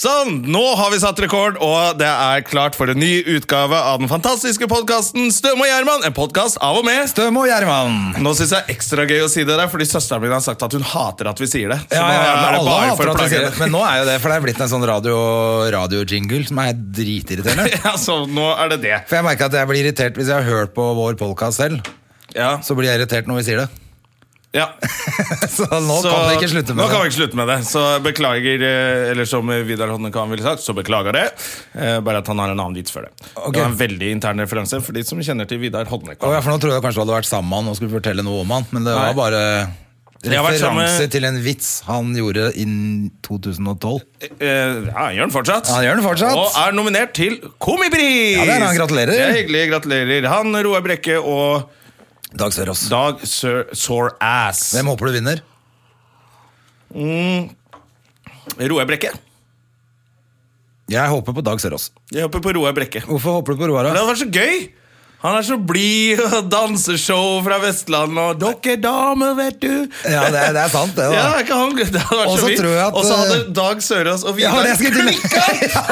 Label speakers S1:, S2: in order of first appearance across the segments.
S1: Sånn, nå har vi satt rekord, og det er klart for en ny utgave av den fantastiske podkasten Støm og Gjerman. En podkast av og med
S2: Støm og Gjerman.
S1: Nå syns jeg er ekstra gøy å si det der, fordi søsteren min har sagt at hun hater at vi sier det. Så
S2: Ja,
S1: nå
S2: ja,
S1: er
S2: men
S1: det
S2: alle
S1: bare
S2: hater
S1: for å
S2: at de
S1: plage
S2: sier det.
S1: henne.
S2: Men nå er jo det, for det er blitt en sånn radio- radio-jingle som er dritirriterende.
S1: Ja, så nå er det det.
S2: For jeg merker at jeg blir irritert hvis jeg har hørt på vår podcast selv.
S1: Ja.
S2: Så blir jeg irritert når vi sier det.
S1: ja.
S2: Så Altså, nå
S1: Så
S2: kan vi ikke slutte med
S1: nå kan vi
S2: det.
S1: ikke slutte med det. Så beklager, eh, eller som Vidar Hodnekan ville sagt, så beklager det. Eh, Bare at han har en annen vits før det.
S2: Ok.
S1: Det var en veldig intern referanse for de som kjenner til Vidar
S2: Å,
S1: Hodnekan.
S2: ja, for nå trodde jeg kanskje du hadde vært sammen med han og skulle fortelle noe om han, men det
S1: Nei.
S2: var bare
S1: Jeg har vært sammen med-
S2: referanse til en vits han gjorde innen 2012.
S1: Eh, Ja, han gjør den fortsatt.
S2: Han gjør den fortsatt.
S1: Og er nominert til Komipris!
S2: Ja, det er han. Gratulerer.
S1: Det er hyggelig. Gratulerer. Han, Roar Brekke og
S2: Dag Sørås.
S1: Dag Sir Sore Ass.
S2: Hvem håper du vinner?
S1: Roar Brekke.
S2: Jeg håper på Dag Sørås.
S1: Jeg hopper på Roar Brekke.
S2: Hvorfor håper du på Roar?
S1: Det
S2: da?
S1: hadde vært så gøy! Han er så blid og danseshow fra Vestlandet og 'Dere damer, vet du'.
S2: Ja, det er, det er sant, det.
S1: Ja,
S2: da.
S1: er ikke han, det hadde vært
S2: Og så
S1: så vidt.
S2: tror jeg at,
S1: Og så hadde
S2: eh,
S1: Dag Sørås og
S2: Ja,
S1: Vidar
S2: det skulle jeg til å-
S1: klikka!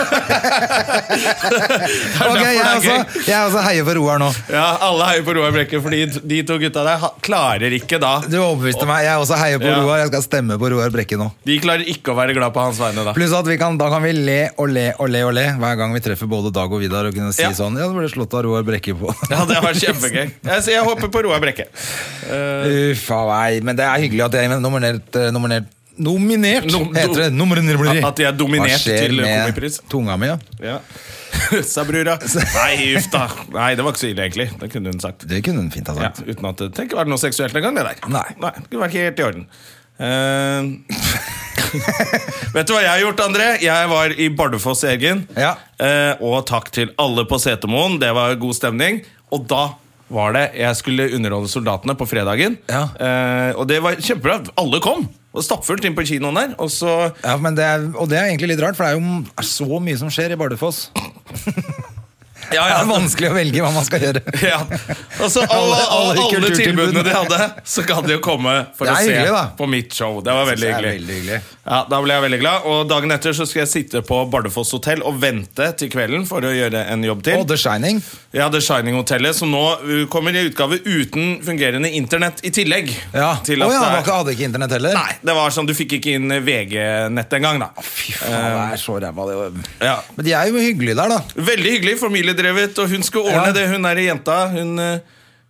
S1: Det er
S2: Ok, altså, jeg
S1: derfor det er
S2: også,
S1: gøy.
S2: jeg også heier for Roar nå.
S1: Ja, alle heier på Roar Brekke, fordi de to gutta der ha- klarer ikke da
S2: Du overbeviste meg. Jeg også heier på
S1: Ja.
S2: Roar. Jeg skal stemme på Roar Brekke nå.
S1: De klarer ikke å være glad på hans vegne da.
S2: Pluss at vi kan, Da kan vi le og le og le og le hver gang vi treffer både Dag og Vidar. Og kunne si
S1: Ja.
S2: sånn Ja, det ble slått av Roar Brekke på.
S1: Ja, det var kjempegøy. Jeg, så jeg hopper på Roar Brekke. Eh,
S2: Uffa meg. Men det er hyggelig at jeg er nominert, eh, nominert Nominert,
S1: Nom-
S2: heter det. Nominert.
S1: At de er dominert
S2: Hva skjer
S1: til
S2: med
S1: komipris?
S2: Tunga mi, ja.
S1: ja. Sa brura. Nei, uff da. Nei, det var ikke så ille, egentlig. Det kunne hun sagt.
S2: Det kunne hun fint ha
S1: Ja,
S2: sagt.
S1: uten at det trenger ikke være noe seksuelt engang, det der.
S2: Nei.
S1: det kunne vært helt i orden. Eh, vet du hva jeg har gjort, André? Jeg var i Bardufoss, Eggen.
S2: Ja.
S1: Eh, og takk til alle på Setermoen. Det var god stemning. Og da var det jeg skulle underholde soldatene på fredagen.
S2: Ja.
S1: Eh, og det var kjempebra. Alle kom. Og stappfullt inn på kinoen der. Og så
S2: Ja, men det er, og det er egentlig litt rart, for det er jo er så mye som skjer i Bardufoss.
S1: Ah, Ja,
S2: Det er vanskelig å velge hva man skal gjøre.
S1: Ja. Og så alle,
S2: Alle-
S1: alle,
S2: alle
S1: alle
S2: kulturtilbudene.
S1: tilbudene de hadde, så kan de jo komme for
S2: Det
S1: å
S2: er
S1: se
S2: hyggelig, da.
S1: på mitt show. Det var
S2: Jeg synes
S1: veldig
S2: det er
S1: hyggelig.
S2: veldig hyggelig.
S1: Ja, Da ble jeg veldig glad. Og dagen etter så skal jeg sitte på Bardufoss hotell og vente til kvelden for å gjøre en jobb til.
S2: Og The Shining.
S1: Ja, The Shining-hotellet, som nå uh, kommer i utgave uten fungerende internett i tillegg.
S2: Ja.
S1: Til at
S2: Å ja,
S1: det
S2: han
S1: er-
S2: var ikke- hadde ikke internett heller?
S1: Nei, det var sånn, Du fikk ikke inn VG-nett engang, da.
S2: Fy faen, det er så ræva. det.
S1: Eh, Ja.
S2: Men de er jo hyggelige der, da.
S1: Veldig hyggelig, familiedrevet, og hun skulle ordne
S2: Ja.
S1: det. Hun er ei jenta. Hun, eh,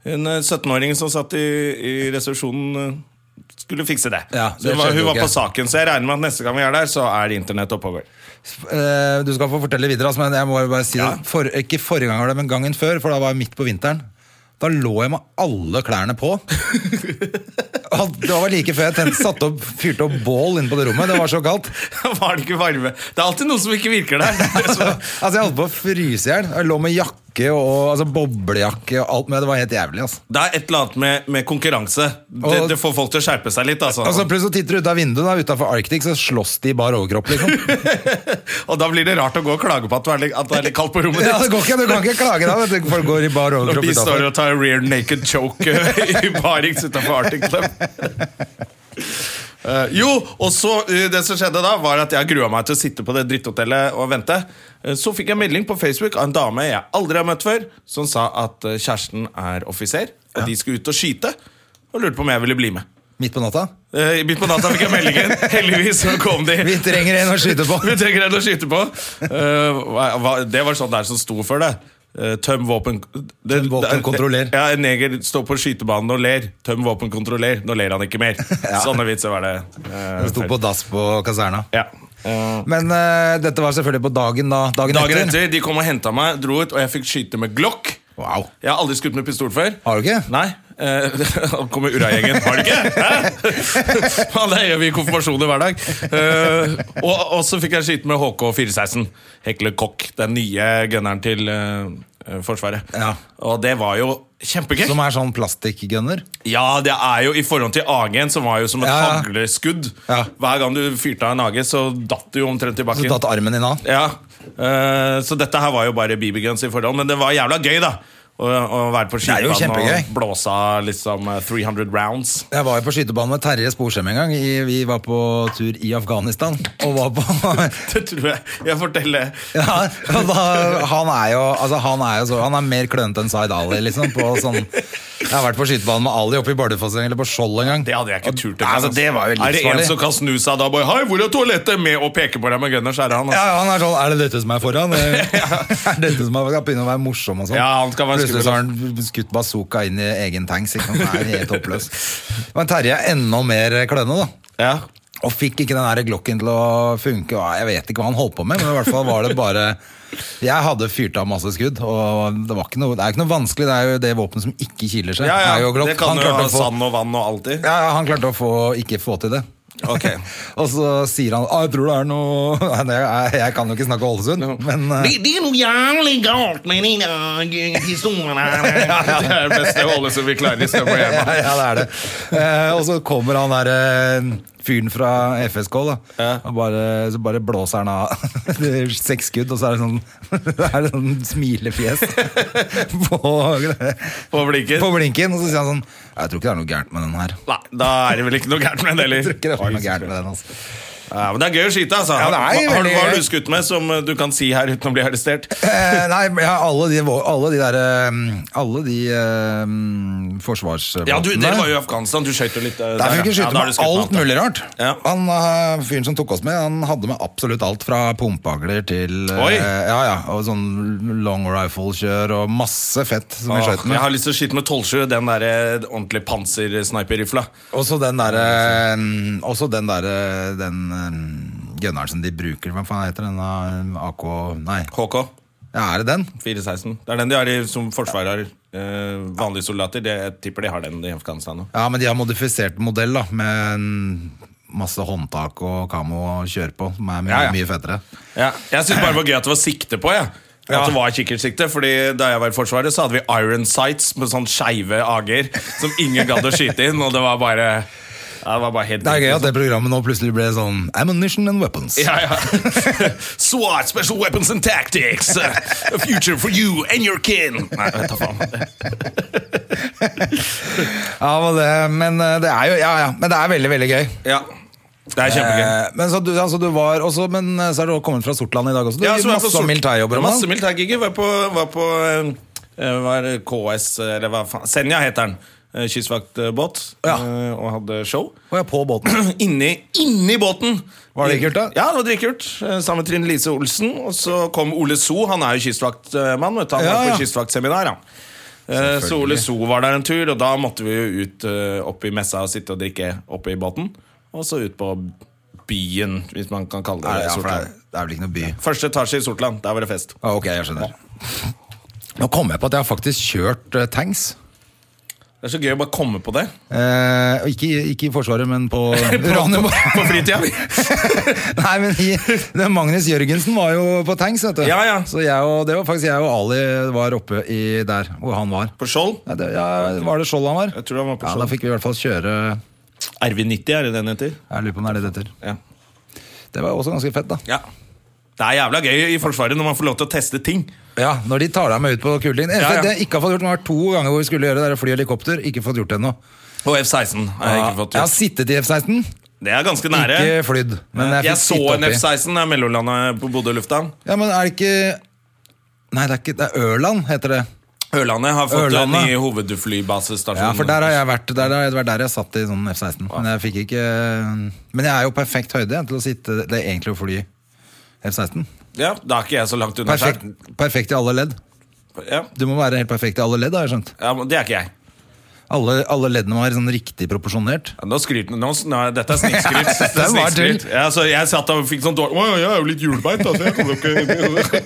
S1: hun eh, 17-åringen som satt i, i resepsjonen, eh, skulle fikse det.
S2: Ja,
S1: så
S2: det
S1: hun var,
S2: skjedde
S1: hun
S2: jo
S1: var
S2: ikke.
S1: på saken, så jeg regner med at neste gang vi er der, så er det internett oppe og går.
S2: Eh, Du skal få fortelle videre, altså, men jeg må jo bare si
S1: Ja.
S2: det. For, ikke forrige gang, var det, men gangen før, for da var jeg midt på vinteren. Da lå jeg med alle klærne på. Og det var like før jeg tent, satt opp, fyrte opp bål inne på det rommet. Det var så kaldt.
S1: var det ikke varme? Det er alltid noe som ikke virker der. Det er så-
S2: Altså, jeg holdt på å fryse i hjel. Jeg lå med jakke og altså, boblejakke og alt, men det var helt jævlig. altså.
S1: Det er et eller annet med, med konkurranse. Det,
S2: Og-
S1: det får folk til å skjerpe seg litt. Altså.
S2: Altså, Plutselig så titter du ut av vinduet, da, utenfor Arctic, så slåss de i bar overkropp. liksom.
S1: og da blir det rart å gå og klage på at det er litt, at det er litt kaldt på rommet
S2: Ja, det går ikke, Du kan ikke klage da, vet du. Folk går i bar
S1: Når
S2: overkropp
S1: de
S2: utenfor.
S1: står og tar rear naked choke eh, i Barings utenfor Arctic Club. Eh, jo, og så eh, det som skjedde da, var at jeg grua meg til å sitte på det dritthotellet og vente. Eh, så fikk jeg melding på Facebook av en dame jeg aldri har møtt før, som sa at eh, kjæresten er offiser, og de skulle ut og skyte. Og lurte på om jeg ville bli med.
S2: Midt på natta?
S1: Eh, I midt på natta fikk jeg meldingen. Heldigvis så kom de.
S2: Vi trenger en å skyte på.
S1: Vi trenger en å skyte på. Eh, hva- hva- det var sånn der som sto for det. Eh, tøm våpen det-
S2: Tøm våpen,
S1: det-
S2: kontroller.
S1: Ja, En neger står på skytebanen og ler. Tøm våpen, kontroller. Nå ler han ikke mer. Sånne vitser var det. eh,
S2: Det sto på dass på kaserna.
S1: Ja.
S2: Men eh, dette var selvfølgelig på dagen da. Dagen,
S1: Dagen etter de kom og henta meg, dro ut, og jeg fikk skyte med glokk.
S2: Wow.
S1: Jeg har aldri skutt med pistol før.
S2: Har du ikke?
S1: Nei, Eh, Han kommer Uragjengen, har du ikke? Hæ? Ja, det gjør vi i konfirmasjoner hver dag. Eh, og, og så fikk jeg skyte med HK416. Hekle Kokk, den nye gunneren til eh, Forsvaret.
S2: Ja.
S1: Og det var jo kjempegøy.
S2: Som er sånn plastikkgunner.
S1: Ja, det er jo i forhold til AG-en, som var jo som et
S2: Ja, ja.
S1: hagleskudd.
S2: Ja.
S1: Hver gang du fyrte av en AG, så datt du jo omtrent i
S2: Så
S1: bakken.
S2: datt armen din av.
S1: Ja, eh, Så dette her var jo bare BB guns i forhold, men det var jævla gøy, da. Å, å være på
S2: Det er jo
S1: skytebanen og
S2: kjempegøy.
S1: blåse av liksom eh, 300 rounds.
S2: Jeg var jo på skytebanen med Terje Sporsem en gang. I, vi var på tur i Afghanistan. Og var på
S1: Det tror jeg jeg forteller.
S2: ja, og da, han, er jo, altså, han er jo så Han er mer klønete enn Zaid Ali, liksom. På sånn, jeg har vært på skytebanen med Ali oppe i Bardufoss eller på Skjold en gang.
S1: Det hadde jeg ikke turt.
S2: Nei, altså, det var jo
S1: er det en
S2: livsfarlig.
S1: som kan snu seg da bare Hei, hvor er toalettet? Med å peke på deg med gunner, så er det han.
S2: Ja,
S1: Altså.
S2: ja, han er sånn Er det dette som er foran? er det dette som er Skal begynne å være morsom og sånn.
S1: Ja, han skal være
S2: Plutselig så har
S1: skummel,
S2: han skutt bazooka inn i egen tanks. Ikke? sant? Han er helt håpløs. Men Terje er enda mer kløne, da.
S1: Ja.
S2: Og fikk ikke den der glokken til å funke. og Jeg vet ikke hva han holdt på med, men i hvert fall var det bare Jeg hadde fyrt av masse skudd, og det, var ikke noe, det er ikke noe vanskelig. Det er jo det våpenet som ikke kiler seg.
S1: Ja, ja,
S2: er jo Glock.
S1: Det kan
S2: Han
S1: jo
S2: klarte
S1: ha
S2: å få-
S1: sand og vann og alt i.
S2: ja, ja, han klarte å få, ikke få til det.
S1: Ok.
S2: og så sier han ah, 'Jeg tror det er noe Nei, det er- Jeg kan jo ikke snakke Ålesund, men eh,
S3: Det, det er noe jævlig galt med den der historien her.
S1: Ja, ja. Det er det beste Ålesund vi klarer i Støvla
S2: ja,
S1: hjemme.
S2: ja, det er det. Eh, og så kommer han der eh, fyren fra FSK, da. Og bare, så bare blåser han av Det er seks skudd, og så er det sånn, det er sånn smilefjes på,
S1: På blinken.
S2: på blinken. Og så sier han sånn Jeg tror ikke det er noe gærent med den her.
S1: Nei, da er det vel ikke noe gærent med den heller.
S2: Jeg tror ikke det var noe gærent med den, altså.
S1: Ja, men det er gøy å skyte, altså.
S2: Ja, det er
S1: Hva- har, du-
S2: veldig
S1: hva har
S2: gøy.
S1: du skutt med som eh, du kan si her uten å bli arrestert?
S2: Eh, nei, men ja, alle de, vå- alle de derre Alle de eh, forsvarsvåpnene
S1: Ja, du, Dere var jo i Afghanistan, du skjøt jo litt eh,
S2: Der fikk vi
S1: ja. Ja,
S2: skyte
S1: da har du
S2: med
S1: skutt med
S2: alt mulig rart.
S1: Ja.
S2: Han eh, Fyren som tok oss med, han hadde med absolutt alt fra pumpehagler til eh,
S1: Oi.
S2: Ja, ja, og sånn long rifle-kjør og masse fett som vi
S1: Åh,
S2: skjøt
S1: jeg
S2: med.
S1: har lyst til å skyte med 12-7, den der eh, ordentlig pansersniper-rifla.
S2: Og så den derre eh, Også den derre Den eh, gunneren som de bruker, hva faen heter den? da? AK Nei,
S1: HK
S2: ja, er det den?
S1: 416. Det er den de har i, som forsvaret har. Eh, vanlige soldater. Det, jeg tipper de har den i Afghanistan nå.
S2: Ja, men de har modifisert modell, da, med en masse håndtak og kamo å kjøre på, som er mye,
S1: Ja, ja.
S2: mye fettere.
S1: Ja, jeg synes bare det var gøy at det var sikte på, jeg.
S2: Ja.
S1: At det var kikkertsikte, fordi Da jeg var i Forsvaret, så hadde vi iron sights med sånn skeive ager som ingen gadd å skyte inn. Og det var bare ja, Det var bare helt
S2: Det er gøy at det programmet nå plutselig ble sånn Ammunition and weapons.
S1: liksom. ja, ja. SWAT, Special Weapons and Tactics. A future for you and your kin. Nei, vet du faen.
S2: Ja, men det, men eh, det er jo Ja, ja. Men det er veldig, veldig gøy.
S1: Ja, det er kjempegøy.
S2: Eh, Men så, du, altså, du var også, men eh, så er du også kommet fra Sortland i dag også. Du
S1: Ja,
S2: har
S1: så var jeg på
S2: masse
S1: Sort-
S2: militærjobber.
S1: Ja,
S2: om
S1: Masse
S2: dagen.
S1: militærgigger. Var på, var på eh, var KS, eh, eller hva faen Senja heter den. Eh, Kystvaktbåt.
S2: Ja.
S1: eh, Og hadde show.
S2: Og jeg er på båten.
S1: Inni, inni båten!
S2: Var det kult, da?
S1: Ja, det var dritkult. Eh, Sammen med Trine Lise Olsen. Og så kom Ole So, han er jo kystvaktmann. vet du. Han
S2: Ja,
S1: var
S2: ja.
S1: på kystvaktseminar, han. Eh, Så Ole So var der en tur, og da måtte vi jo ut eh, opp i messa og sitte og drikke oppe i båten. Og så ut på byen, hvis man kan kalle det
S2: Er
S1: det.
S2: det, ja, for det, er,
S1: Sortland.
S2: det er vel ikke noe by.
S1: Første etasje i Sortland. Der var det fest.
S2: Ah, ok, jeg skjønner. Nå kom jeg på at jeg har faktisk kjørt eh, tanks.
S1: Det er så gøy å bare komme på det.
S2: Eh, og ikke, ikke i Forsvaret, men på Ranum.
S1: På fritida.
S2: Nei, men i, det, Magnus Jørgensen var jo på tanks, vet du.
S1: Ja, ja.
S2: Så jeg og, det var faktisk jeg og Ali var oppe i, der hvor han var.
S1: På Skjold.
S2: Ja, det, ja, var det Skjold han var?
S1: Jeg tror han var på
S2: ja,
S1: Skjold.
S2: Da fikk vi i hvert fall kjøre
S1: RV90 er det den heter.
S2: Jeg lurer på om det er det det heter.
S1: Ja.
S2: Det var også ganske fett, da.
S1: ja. Det er jævla gøy i Forsvaret når man får lov til å teste ting.
S2: Ja, Når de tar deg med ut på kuleting. Eneste
S1: Ja, ja.
S2: det jeg ikke har fått gjort, det var to ganger hvor vi skulle gjøre det, det er å fly helikopter. Ikke fått gjort det ennå.
S1: Og F-16 har jeg ikke fått
S2: Jeg har
S1: gjort.
S2: sittet i F-16,
S1: Det er ganske nære.
S2: ikke flydd. Men jeg,
S1: jeg,
S2: fikk
S1: så
S2: sitte
S1: en
S2: oppi.
S1: F-16 da jeg mellomlandet på Bodø lufthavn.
S2: Ja, men er det ikke Nei, det er ikke Det er Ørland, heter det.
S1: Ørlandet har fått en
S2: Ørlandet.
S1: ny hovedflybasestasjon.
S2: Ja, for der har jeg vært Der, der, det var der jeg satt i sånn F-16. Men jeg fikk ikke Men jeg er jo perfekt høyde jeg, til å sitte Det er egentlig å fly F-16.
S1: Ja, da er ikke jeg så langt unna.
S2: Perfekt,
S1: skjerm.
S2: perfekt i alle ledd.
S1: Ja.
S2: Du må være helt perfekt i alle ledd, har jeg skjønt.
S1: ja, men Det er ikke jeg.
S2: Alle, alle leddene må være sånn riktig proporsjonert.
S1: Ja, Nå skryter nå, s- nei, Dette er snikskryt. Dette er
S2: Det var tull.
S1: snikskryt. Ja, så jeg satt og fikk sånn dårlig Å, jeg er jo litt hjulbeint, altså. Jeg kommer jo ikke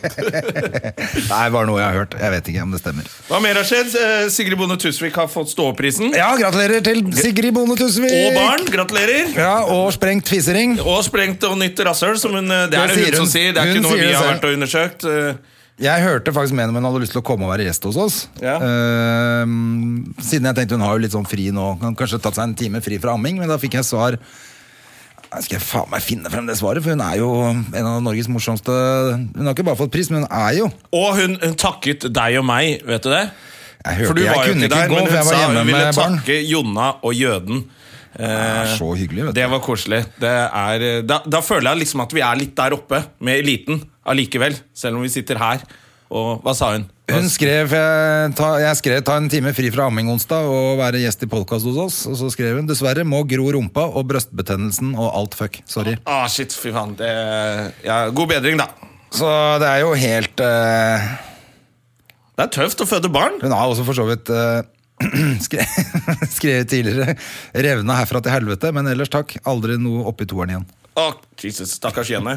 S2: Nei, bare noe jeg har hørt. Jeg vet ikke om det stemmer.
S1: Hva mer har skjedd? Eh, Sigrid Bonde Tusvik har fått ståprisen.
S2: Ja, gratulerer til Sigrid Bonde Tusvik!
S1: Og barn. Gratulerer.
S2: Ja, og sprengt fisering.
S1: Og sprengt og nytt rasshøl, som hun eh, Det er
S2: Det
S1: det hun,
S2: sier hun.
S1: som sier. Det er
S2: Hun
S1: ikke noe
S2: sier
S1: vi
S2: det
S1: har
S2: selv.
S1: vært og undersøkt. eh.
S2: Jeg hørte faktisk med henne, men hadde lyst til å komme og være gjest hos oss.
S1: Ja.
S2: Ehm, siden jeg tenkte hun har jo litt sånn fri nå, kan kanskje tatt seg en time fri fra amming, men da fikk jeg svar. Nei, Skal jeg faen meg finne frem det svaret, for hun er jo en av Norges morsomste Hun har ikke bare fått pris, men hun er jo
S1: Og hun, hun takket deg og meg, vet du det?
S2: Jeg
S1: For
S2: hørte,
S1: du
S2: jeg
S1: var jo
S2: kunne
S1: ikke
S2: ikke
S1: der,
S2: gå, for
S1: men hun
S2: jeg var
S1: sa
S2: hjemme
S1: hun ville
S2: med barn.
S1: takke Jonna og jøden.
S2: Det
S1: Eh,
S2: er så hyggelig, vet du.
S1: Det var koselig. Det er, eh, da, da føler jeg liksom at vi er litt der oppe med eliten allikevel, selv om vi sitter her. Og hva sa hun?
S2: Hun skrev jeg, ta, jeg skrev 'ta en time fri fra amming onsdag' og være gjest i podkast hos oss. Og så skrev hun 'dessverre må gro rumpa og brøstbetennelsen og alt fuck'. Sorry.
S1: Ah, shit, fy faen. Det, ja, god bedring, da.
S2: Så det er jo helt eh,
S1: Det er tøft å føde barn.
S2: Hun har også for så vidt eh, skre, skrevet tidligere 'revna herfra til helvete', men ellers takk. Aldri noe oppi toeren igjen.
S1: Å, Jesus, stakkars Jenny.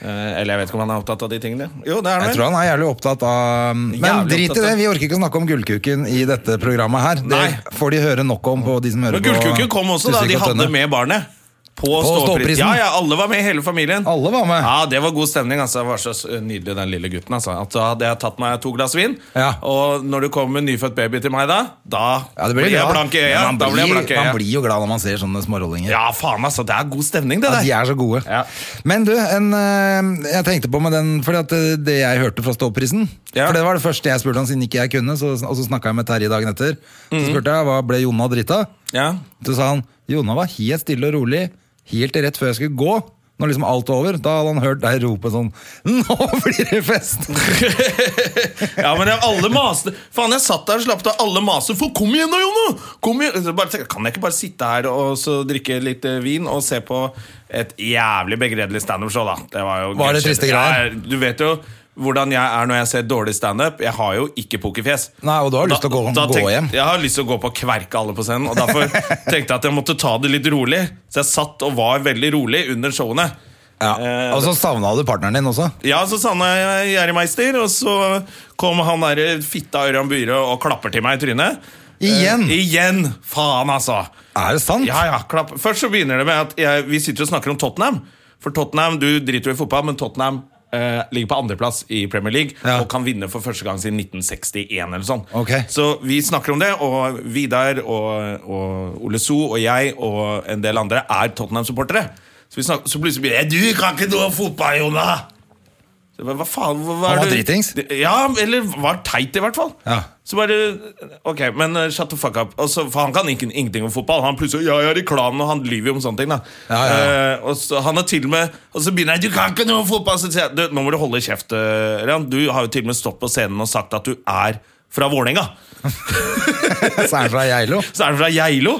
S1: Eh, eller jeg vet ikke om han er opptatt av de tingene. Jo, det er
S2: Jeg
S1: han
S2: tror
S1: vel.
S2: han er jævlig opptatt av mm, Men
S1: Jævlig
S2: drit i
S1: opptatt av-
S2: det, vi orker ikke å snakke om gullkuken i dette programmet her. Det
S1: Nei.
S2: får de høre nok om på de som hører
S1: Men
S2: på.
S1: Gullkuken kom også, da.
S2: Tusvik
S1: De
S2: og
S1: hadde
S2: Tønne.
S1: med barnet. På,
S2: ståprisen.
S1: ståprisen. Ja, ja, alle var med, hele familien.
S2: Alle var med.
S1: Ja, Det var god stemning. altså Det var så s- nydelig, den lille gutten. altså At Da hadde jeg tatt meg to glass vin,
S2: Ja.
S1: og når du kommer med en nyfødt baby til meg da, da
S2: Ja, det blir
S1: jeg
S2: glad.
S1: blank i
S2: Men
S1: øya.
S2: Man
S1: Da blir jeg
S2: blir,
S1: blank i
S2: man
S1: øya.
S2: blir jo glad når man ser sånne smårollinger.
S1: Ja, faen, altså. Det er god stemning, det
S2: At
S1: der.
S2: de er så gode.
S1: Ja.
S2: Men du, en, eh, jeg tenkte på med den Fordi at eh, det jeg hørte fra ståprisen
S1: Ja.
S2: For det var det første jeg spurte han siden ikke jeg kunne, så, og så snakka jeg med Terje dagen etter. Så
S1: Mm.
S2: spurte jeg hva ble Jonna drita
S1: Ja.
S2: Så sa han Jonna var helt stille og rolig helt rett før jeg skulle gå. Når liksom alt var over, da hadde han hørt deg rope sånn Nå blir det fest!
S1: ja, men jeg, alle maste Faen, jeg satt der og slapp av. Alle maste. For kom igjen da, Jonno! Kom igjen! Så Bare, tenkte, kan jeg ikke bare sitte her og så drikke litt eh, vin og se på et jævlig begredelig standup-show, da? Det var jo
S2: Var det
S1: gøy.
S2: triste greier?
S1: Jeg er- Du vet jo hvordan jeg er når jeg ser dårlig standup. Jeg har jo ikke pokerfjes.
S2: Nei, og du har lyst til å gå- gå
S1: tenk-
S2: hjem.
S1: Jeg har lyst til å gå på og kverke alle på scenen, og derfor tenkte jeg at jeg måtte ta det litt rolig. Så jeg satt og var veldig rolig under showene. Eh,
S2: og så savna du partneren din også.
S1: ja, så savna jeg Gjerrimeister, og så kom han der fitta Ørjan Byhre og klapper til meg i trynet.
S2: Igjen?
S1: Eh, igjen! Faen, altså.
S2: Er det sant?
S1: Ja, ja, klapp. Først så begynner det med at jeg, vi sitter og snakker om Tottenham. For Tottenham, Du driter jo i fotball, men Tottenham eh, ligger på andreplass i Premier League
S2: Ja.
S1: og kan vinne for første gang siden 1961. eller sånn.
S2: Ok.
S1: Så vi snakker om det, og Vidar og, og Ole So og jeg og en del andre er Tottenham-supportere. Så, vi snakker, så plutselig blir det «Eh, Du kan ikke noe om fotball, Jonah! Så jeg bare, Hva faen, hva, hva
S2: Han
S1: er
S2: var
S1: det-
S2: dritings?
S1: Det- Ja, eller var teit i hvert fall.
S2: Ja.
S1: Så bare Ok, men eh, shut the fuck up. Og så, for han kan ikke, ingenting om fotball. Han plutselig Ja, jeg er i klanen, og han lyver jo om sånne ting, da.
S2: Ja, ja, ja.
S1: Eh, og så han har til og med Og så begynner jeg Du kan ikke noe om fotball! Så sier jeg du, Nå må du holde kjeft, eh, Ørjan. Du har jo til og med stått på scenen og sagt at du er fra Vålerenga.
S2: Så er han fra Geilo.
S1: Så er han fra Geilo.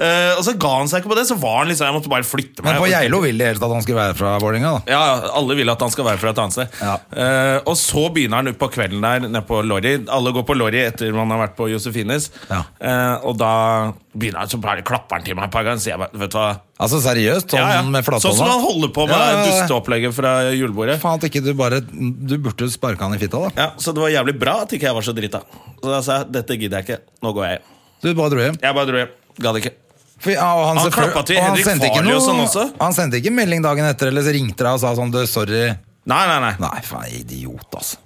S1: Eh, og så ga han seg ikke på det, så var han liksom Jeg måtte bare flytte meg.
S2: Men på Geilo ville de helst at han skulle være fra Vålerenga, da.
S1: Ja, alle vil at han skal være fra et annet sted.
S2: Ja.
S1: Eh, og så begynner han utpå kvelden der nede på Lorry. Alle går på Lorry etter man har vært på Josefines.
S2: Ja.
S1: Eh, og da begynner han, så bare klapper han til meg et par ganger. Så jeg bare, vet du hva?
S2: Altså seriøst, sånn
S1: Ja, ja.
S2: med flathånda.
S1: Sånn som han holder på med
S2: Ja, ja, ja.
S1: dusteopplegget fra julebordet.
S2: Faen at ikke du bare Du burde jo sparka han i fitta, da.
S1: Ja, så det var jævlig bra at ikke jeg var så drita. Så da sa jeg dette gidder jeg ikke. Nå går jeg hjem.
S2: Du bare dro hjem.
S1: Jeg bare dro hjem. Gadd ikke.
S2: For, ja, og han
S1: Han
S2: selvfølgelig-
S1: klappa til
S2: og han
S1: Henrik
S2: sendte ikke
S1: Farley og
S2: noe-
S1: sånn også.
S2: Han sendte ikke melding dagen etter, eller så ringte deg og sa sånn du, sorry.
S1: Nei, nei, nei.
S2: Nei, faen, idiot, altså.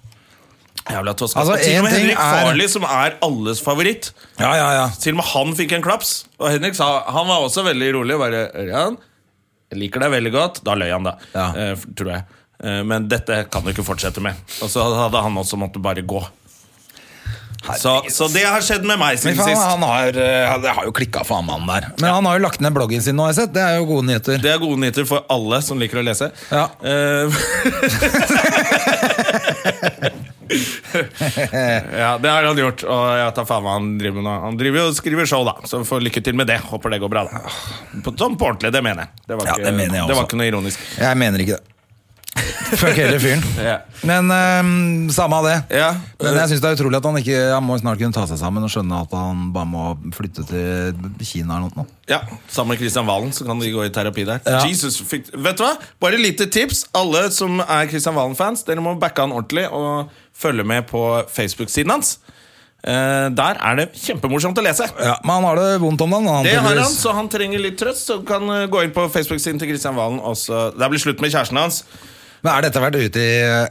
S1: Jævla toska.
S2: Altså,
S1: Og til
S2: en
S1: og med
S2: ting
S1: Henrik
S2: er-
S1: Farley, som er alles favoritt.
S2: Ja, ja, ja.
S1: Til og med han fikk en klaps. Og Henrik sa, han var også veldig rolig. og Bare, Ørjan, jeg liker deg veldig godt. Da løy han, da.
S2: Ja.
S1: eh, f- tror jeg. Eh, men dette kan du ikke fortsette med. Og så hadde han også måttet bare gå. Så, så det har skjedd med meg
S2: Men
S1: siden
S2: faen,
S1: sist.
S2: han har, eh, det har jo klikka for han mannen der. Men han har jo lagt ned bloggen sin nå, har jeg sett. Det er jo gode nyheter.
S1: Det er gode nyheter for alle som liker å lese.
S2: Ja.
S1: Eh, ja, det har han gjort, og jeg tar faen hva han driver med nå. Han driver jo og skriver show, da, så får lykke til med det. Håper det går bra, da. På, sånn på ordentlig, det mener jeg. Det var
S2: Ja,
S1: ikke,
S2: det mener jeg
S1: det var
S2: også.
S1: ikke noe ironisk.
S2: Jeg mener ikke det. Fuck hele fyren.
S1: Ja.
S2: Men ehm, samme av det.
S1: Ja.
S2: Men jeg synes det er utrolig at han ikke Han må snart kunne ta seg sammen og skjønne at han bare må flytte til Kina eller noe.
S1: Ja, Sammen med Kristian Valen, så kan de gå i terapi der.
S2: Ja.
S1: Jesus, fikk, vet du hva? Bare lite tips. Alle som er Kristian Valen-fans, dere må backe han ordentlig og følge med på Facebook-siden hans. Eh, der er det kjempemorsomt å lese.
S2: Ja, men han har det vondt om dagen. Han,
S1: Det har han,
S2: tydeligvis.
S1: så han trenger litt trøst. Så kan eh, gå inn på Facebook-siden til Kristian Valen. og så- Det blir slutt med kjæresten hans.
S2: Men Er dette vært ute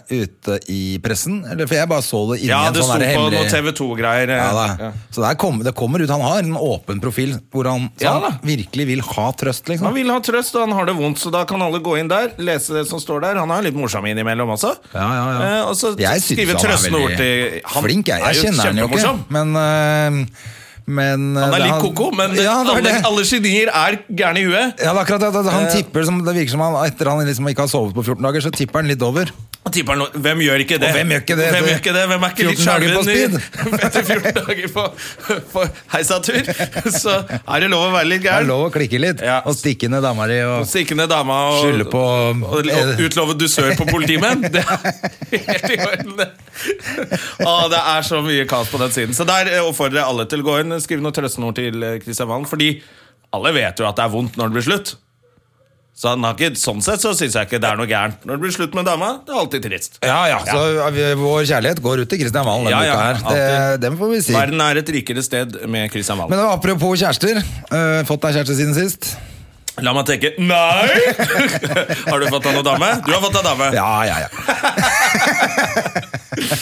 S2: i, ute i pressen? Eller, for jeg bare så det inni
S1: Ja,
S2: en
S1: det sto
S2: sånn der
S1: på noe
S2: hemmelig
S1: TV 2-greier.
S2: ja, da. Så der kom, det kommer ut. Han har en åpen profil hvor han, så
S1: Ja,
S2: han
S1: da.
S2: virkelig vil ha trøst.
S1: Han
S2: liksom
S1: vil ha trøst, og han har det vondt, så da kan alle gå inn der. Lese det som står der Han er litt morsom innimellom også.
S2: Ja, ja, ja.
S1: Eh, og så
S2: Jeg synes
S1: skrive
S2: han er
S1: trøstende
S2: veldig
S1: ord til Han
S2: Flink, jeg.
S1: er
S2: Jeg
S1: jo
S2: kjenner han jo ikke.
S1: kjempemorsom.
S2: Men, øh, men øh,
S1: Han er
S2: det-
S1: litt koko, men
S2: ja, det er
S1: alle,
S2: det.
S1: alle genier er gærne i huet.
S2: Ja, det er akkurat det. at Han
S1: Eh.
S2: tipper som, Det virker som han etter han liksom ikke har sovet på 14 dager, så tipper han litt over.
S1: Og tipper han, hvem gjør ikke det?
S2: Og hvem gjør ikke det?
S1: Hvem, gjør ikke det? hvem er ikke litt
S2: 14 dager på
S1: skjelven i- etter 14 dager på, på heisatur? Så er det lov å være litt
S2: Det er
S1: gæren.
S2: lov å klikke litt
S1: Ja.
S2: og stikke ned dama di og
S1: Stikkende dama og,
S2: Skylde på- eh,
S1: og, og utlove dusør på politimenn. Det er helt i orden, det. Å, det er så mye kaos på den siden. Så der eh, oppfordrer jeg alle til å gå inn skrive noen trøstende ord til eh, Kristian Valen. Fordi alle vet jo at det er vondt når det blir slutt. Så han har ikke, sånn sett så syns jeg ikke det er noe gærent. Når det blir slutt med dama, det er alltid trist.
S2: Ja, ja, så øh, vår kjærlighet går ut til Kristian Valen denne
S1: Ja, ja,
S2: uka her. Det,
S1: alltid.
S2: dem får vi si.
S1: Verden er et rikere sted med Kristian Valen.
S2: Men apropos kjærester. øh, fått deg kjæreste siden sist?
S1: La meg tenke Nei! har du fått deg noe dame? Du har fått deg dame.
S2: Ja, ja, ja.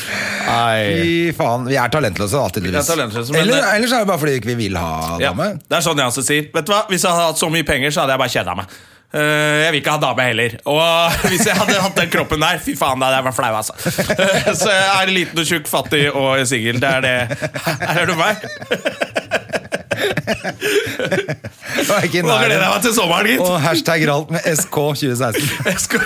S2: Fy faen. Vi er talentløse, da, tydeligvis.
S1: Vi er talentløse, men- eh,
S2: Eller, ellers er det bare fordi vi ikke vil ha
S1: Ja,
S2: dame.
S1: det er sånn jeg også sier. Vet du hva? Hvis jeg hadde hatt så mye penger, så hadde jeg bare kjeda meg. Eh, jeg vil ikke ha dame heller. Og hvis jeg hadde hatt den kroppen der, fy faen, da hadde jeg vært flau, altså. Eh, så jeg er liten og tjukk, fattig og singel. Det er det. Her er du meg.
S2: Det var ikke i
S1: Nå gleder jeg
S2: nærheten.
S1: meg til sommeren,
S2: Og
S1: gitt.
S2: hashtag ralt med SK 2016.
S1: Jeg skal...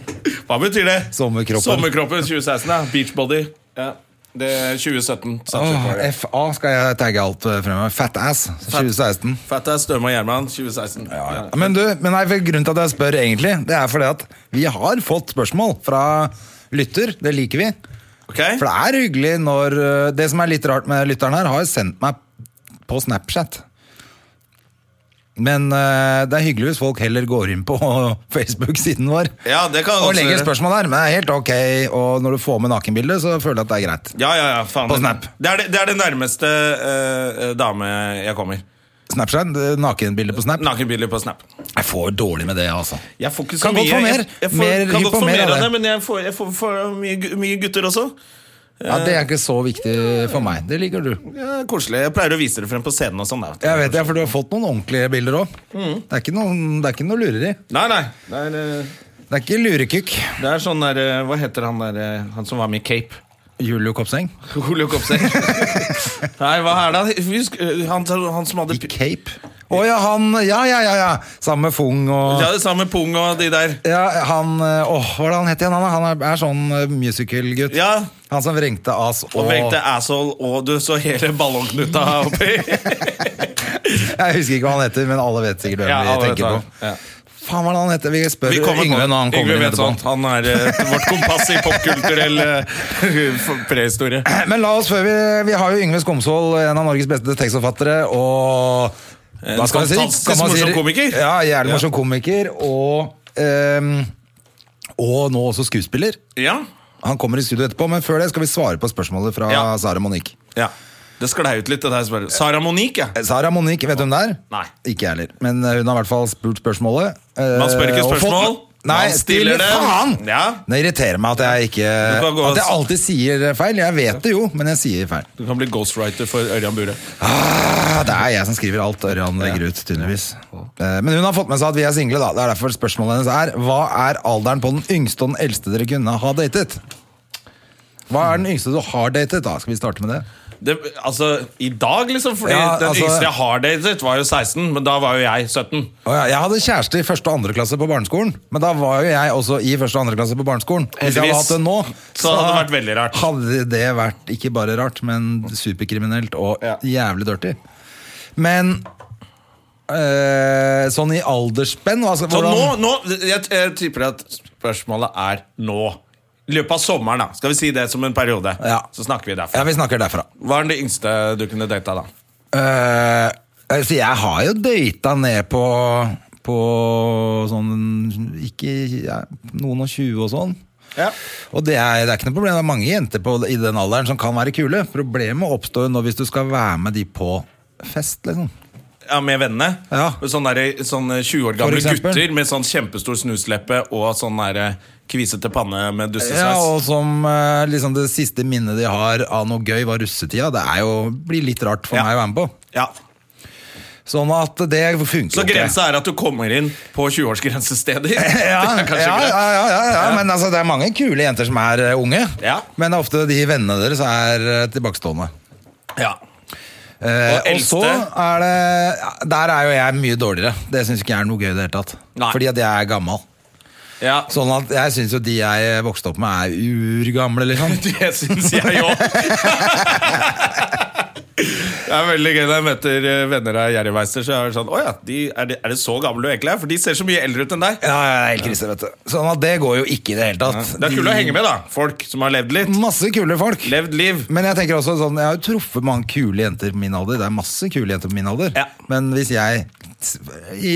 S1: Hva betyr det?
S2: Sommerkroppen.
S1: Sommerkroppen 2016, ja. Beachbody. Ja. Det er 2017. satser
S2: Åh,
S1: jeg på.
S2: FA skal jeg tagge alt eh, fremover. Fat ass 2016.
S1: Fatta Støme og Gjerman 2016. Ja.
S2: Men du, men nei, for grunnen til at jeg spør egentlig, det er fordi at vi har fått spørsmål fra lytter. Det liker vi.
S1: Ok?
S2: For det er hyggelig når eh, Det som er litt rart med lytteren her, har sendt meg på Snapchat. Men eh, det er hyggelig hvis folk heller går inn på Facebook-siden vår.
S1: Ja, det kan jeg
S2: Og
S1: også
S2: legger
S1: gjøre.
S2: spørsmål der, men det er helt ok. Og når du får med nakenbildet, så føler jeg at det er greit.
S1: Ja, ja, ja, faen.
S2: På Snap.
S1: Det er det, det, er det nærmeste eh, eh, dame jeg kommer.
S2: Snapchat, eh, nakenbilde på Snap.
S1: Nakenbilder på Snap.
S2: Jeg får dårlig med det, altså.
S1: Jeg får ikke så
S2: Kan
S1: mye.
S2: godt få mer.
S1: Jeg, jeg får,
S2: Mer-
S1: kan
S2: hiv
S1: godt
S2: på
S1: få
S2: mer
S1: mer
S2: av
S1: av det,
S2: det.
S1: men jeg får, jeg får, får mye, gu- mye gutter også.
S2: Ja, Det er ikke så viktig for meg. Det liker du.
S1: Ja, koselig. Jeg pleier å vise det frem på scenen og sånn. da, vet du.
S2: Jeg vet det, for du har fått noen ordentlige bilder òg. Det, er ikke noen- det er ikke noe lureri.
S1: Nei, nei. Det er, eh,
S2: Det er ikke lurekukk.
S1: det er sånn der eh, Hva heter han der eh, Han som var med i Cape?
S2: Julio Kopseng.
S1: Ole Kopseng. nei, hva er det han Husk, eh, han, han som hadde
S2: I cape. Å ja, han Ja, ja, ja. ja. Sammen med Fung og
S1: Ja, det samme pung og de der.
S2: ja, han, eh, Åh, hva er det han heter igjen? Han, er- han er, er sånn eh, musical-gutt.
S1: Ja.
S2: Han som vrengte ass og,
S1: Og vekte asshole, og du så hele ballongknuta oppi.
S2: Jeg husker ikke hva han heter, men alle vet sikkert hvem
S1: Ja, alle
S2: vi
S1: vet
S2: tenker
S1: hva.
S2: på.
S1: Ja.
S2: Faen, hva er det han heter? Vi spør
S1: Vi kommer på
S2: Yngve når han kommer
S1: Yngve
S2: inn
S1: vet
S2: etterpå.
S1: sånt. Han er eh, vårt kompass i popkulturell eh, prehistorie.
S2: Men la oss før vi Vi har jo Yngve Skomsvold, en av Norges beste tekstforfattere, og
S1: En
S2: Hva skal man si?
S1: fantastisk
S2: Kan man si-
S1: morsom komiker.
S2: Ja, jævlig morsom komiker, og ehm, Og nå også skuespiller.
S1: Ja.
S2: Han kommer i studio etterpå, men før det skal vi svare på spørsmålet fra
S1: Ja.
S2: Sara Monique. Eh,
S1: ja. Det sklei ut litt, det der. spørsmålet. Sara Monique, ja.
S2: Sara Monique, vet du hvem det er?
S1: Nei.
S2: Ikke jeg heller. Men eh, hun har i hvert fall spurt spørsmålet. eh,
S1: Man spør ikke
S2: og fått-
S1: spørsmål.
S2: Nei,
S1: Man stiller det.
S2: Faen!
S1: Ja.
S2: Det irriterer meg at jeg ikke
S1: Du kan gå og-
S2: At jeg alltid sier feil. Jeg vet det jo, men jeg sier feil.
S1: Du kan bli ghostwriter for Ørjan Bure.
S2: Ah, det er jeg som skriver alt Ørjan legger ut, tydeligvis. Eh, Men hun har fått med seg at vi er single, da. Det er derfor spørsmålet hennes er Hva er alderen på den yngste og den eldste dere kunne ha datet? Hva er den yngste du har datet, da? Skal vi starte med det?
S1: Det, altså, I dag, liksom. Fordi
S2: Ja,
S1: den
S2: altså-
S1: yngste jeg har datet, var jo 16, men da var jo jeg 17.
S2: Å ja, jeg hadde kjæreste i første og andre klasse på barneskolen, men da var jo jeg også i første og andre klasse på barneskolen. Hvis jeg hadde
S1: Heldigvis.
S2: hatt det nå,
S1: Så hadde det vært veldig rart.
S2: Hadde det vært ikke bare rart, men superkriminelt og
S1: Ja.
S2: jævlig dirty. Men øh, sånn i aldersspenn hva skal-
S1: Så
S2: hvordan-
S1: nå, nå jeg, jeg tipper at Spørsmålet er nå. I løpet av sommeren, da. Skal vi si det som en periode?
S2: Ja.
S1: Så snakker vi derfra.
S2: Ja, vi snakker derfra.
S1: Hva er det yngste du kunne data, da?
S2: Eh, altså, jeg har jo data ned på på sånn ikke, ja, noen og tjue og sånn.
S1: Ja.
S2: Og det er, det er ikke noe problem. Det er mange jenter på, i den alderen som kan være kule. Problemet oppstår jo nå hvis du skal være med de på fest, liksom.
S1: Med vennene?
S2: Ja.
S1: Med Sånne, der, sånne 20 år gamle
S2: For eksempel.
S1: gutter med sånn kjempestor snusleppe og sånn der, kvisete panne med
S2: Ja,
S1: dussesveis?
S2: og som eh, liksom det siste minnet de har av noe gøy, var russetida. Det er jo, blir litt rart for
S1: Ja.
S2: meg å være med på.
S1: Ja.
S2: Sånn at det funker
S1: Så
S2: jo ikke.
S1: grensa er at du kommer inn på 20-årsgrensesteder?
S2: Ja, ja,
S1: Det er
S2: ja,
S1: kanskje
S2: ja,
S1: greit.
S2: ja, ja, men altså, det er mange kule jenter som er eh, unge.
S1: Ja.
S2: Men det er ofte de vennene deres er eh, tilbakestående.
S1: Ja.
S2: Eh,
S1: Og
S2: og så
S1: eldste?
S2: er det ja, Der er jo jeg mye dårligere. Det syns ikke jeg er noe gøy i det hele tatt.
S1: Nei.
S2: Fordi at jeg er gammel.
S1: ja.
S2: Sånn at jeg syns jo de jeg vokste opp med, er urgamle, liksom.
S1: Det syns jeg jo. Det er veldig gøy når jeg møter eh, venner av Jerrymeister. Så er det sånn, «Å ja, de, er, det, er det så gammel du egentlig er? For de ser så mye eldre ut enn deg.
S2: Ja, ja, det er helt krise, vet du. Sånn at det går jo ikke i det hele tatt.
S1: Det er kult å henge med, da. Folk som har levd litt.
S2: Masse kule folk.
S1: Levd liv.
S2: Men jeg tenker også sånn, jeg har jo truffet mange kule jenter på min alder. Det er masse kule jenter på min alder.
S1: Ja.
S2: Men hvis jeg, i,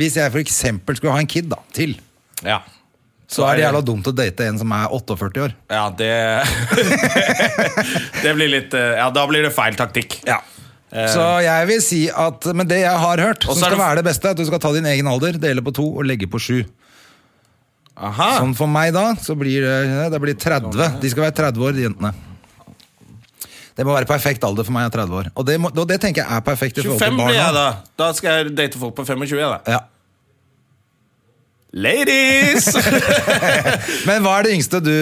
S2: hvis jeg for eksempel skulle ha en kid da, til,
S1: Ja.
S2: så er det jævla dumt å date en som er 48 år.
S1: Ja, det Det blir litt eh, Ja, da blir det feil taktikk.
S2: Så jeg vil si at, men det jeg har hørt,
S1: Eh. Og
S2: som
S1: så er
S2: skal
S1: det-
S2: være det beste, er at du skal ta din egen alder, dele på to og legge på sju.
S1: Aha.
S2: Sånn for meg da, så blir det, det blir
S1: Sånn,
S2: 30. De skal være 30 år, de jentene. Det må være perfekt alder for meg, jeg er 30 år. Og det, må, og det tenker jeg er perfekt i forhold
S1: 25
S2: til
S1: blir jeg,
S2: barna.
S1: da. Da skal jeg date folk på 25, jeg, da.
S2: Ja.
S1: Ladies!
S2: Men hva er det yngste du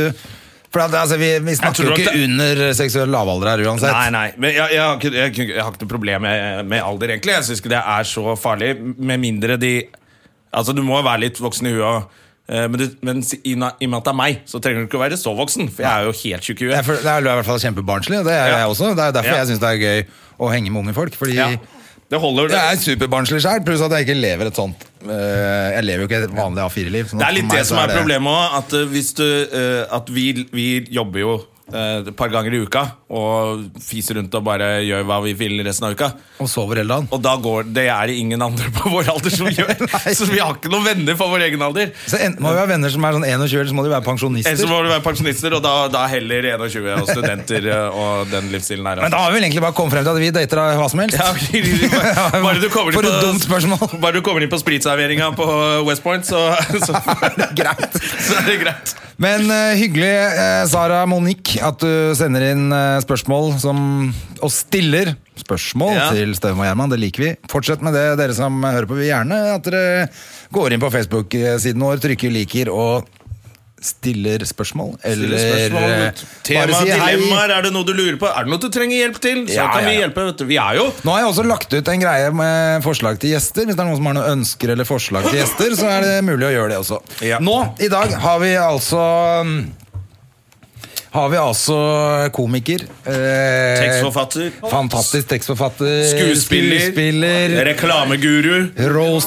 S2: For at, altså, vi, vi snakker
S1: tror
S2: jo ikke
S1: at det-
S2: under seksuell lavalder her uansett.
S1: Nei, nei, men jeg, jeg, har ikke, jeg, kunne ikke- jeg har ikke noe problem med, med alder, egentlig. Jeg syns ikke det er så farlig, med mindre de Altså, du må være litt voksen i huet. eh, Men, du, men si- i, na- i og med at det er meg, så trenger du ikke å være så voksen. For jeg er jo helt tjukk i
S2: Jeg
S1: huet.
S2: føler- Det er jo i hvert fall kjempebarnslig, og det er
S1: Ja.
S2: jeg også. Det er jo derfor
S1: Ja.
S2: jeg syns det er gøy å henge med unge folk. Fordi
S1: Ja. Det holder.
S2: jeg er superbarnslig sjøl, pluss at jeg ikke lever et sånt eh, Jeg lever jo ikke et vanlig A4-liv. sånn
S1: Det
S2: at for
S1: er litt
S2: meg
S1: det som
S2: så
S1: er problemet òg. At, eh, hvis du, eh, at vi, vi jobber jo eh, et par ganger i uka og fiser rundt og bare gjør hva vi vil resten av uka.
S2: Og sover hele dagen.
S1: Og da går, det er det ingen andre på vår alder som gjør.
S2: Nei.
S1: Så vi har ikke noen venner på vår egen alder.
S2: Så enten må vi ha venner som er sånn 21, eller så må de være
S1: Ellers så
S2: pensjonister.
S1: må du være pensjonister, og da, da heller 21 og studenter eh, og den livsstilen her.
S2: Men da har vi vel egentlig bare kommet frem til at vi dater av hva som helst.
S1: Ja, ok, bare, bare du kommer inn
S2: For et
S1: på-
S2: dumt spørsmål.
S1: Bare du kommer inn på spritserveringa på West Point, så, så,
S2: Greit.
S1: så er det greit.
S2: Men eh, hyggelig, eh, Sara Monique, at du sender inn eh, spørsmål som, og stiller spørsmål
S1: Ja.
S2: til Støvum og Gjerman. Det liker vi. Fortsett med det, dere som hører på. Vi vil gjerne at dere går inn på Facebook-siden vår, trykker 'liker' og stiller spørsmål. Eller eh,
S1: Tema,
S2: bare si hei.
S1: dilemmaer, er det noe du lurer på? Er det noe du trenger hjelp til? Så
S2: Ja, ja, Eh,
S1: kan vi
S2: ja.
S1: hjelpe. Vet du. Vi er jo
S2: Nå har jeg også lagt ut en greie med forslag til gjester. Hvis det er noen som har noen ønsker eller forslag til gjester, så er det mulig å gjøre det også.
S1: Ja.
S2: Nå, i dag, har vi altså mm, Har vi altså komiker. eh,
S1: tekstforfatter,
S2: Fantastisk tekstforfatter.
S1: skuespiller,
S2: skuespiller
S1: reklameguru,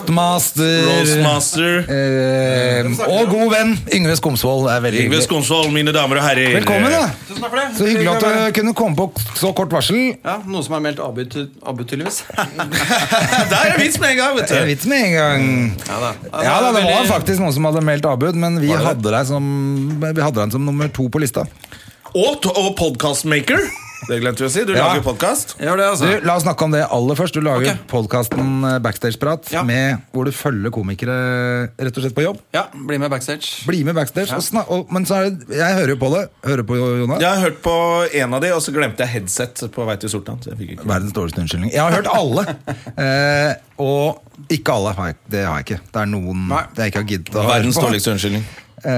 S2: roastmaster.
S1: roastmaster
S2: eh, og god venn Yngve Skomsvold. Det er veldig
S1: Yngve
S2: hyggelig.
S1: Skomsvold, mine damer og herrer.
S2: Velkommen, da.
S4: Tusen takk for det.
S2: Så hyggelig at du kunne komme på så kort varsel.
S4: Ja, Noen som har meldt avbud, til- avbud tydeligvis.
S1: Der er vits med en gang, vet
S2: Det er
S1: du.
S2: en vits med en gang.
S4: Ja
S2: Ja,
S4: da.
S2: da, det var
S4: veldig-
S2: faktisk noen som hadde meldt avbud, men vi hadde deg som, vi hadde deg som nummer to på lista.
S1: Og, t- og podcastmaker. Det glemte vi å si. Du
S2: Ja.
S1: lager podkast.
S4: Gjør det,
S2: Du,
S4: altså.
S2: La oss snakke om det aller først. Du lager
S4: Ok.
S2: podkasten Backstageprat
S4: Ja.
S2: med- hvor du følger komikere rett og slett på jobb.
S4: Ja, Bli med backstage.
S2: Bli med backstage. Og snak, og, men så er det, jeg hører jo på det. Hører på Jonas.
S1: Jeg har hørt på en av de, og så glemte jeg headset på vei til Sortland. Så jeg fikk ikke.
S2: Verdens dårligste unnskyldning. Jeg har hørt alle. eh, og ikke alle. Har jeg, det har jeg ikke. Det er noen
S4: Nei.
S2: jeg ikke har giddet å
S1: Verdens
S2: høre på.
S1: dårligste unnskyldning.
S2: Eh,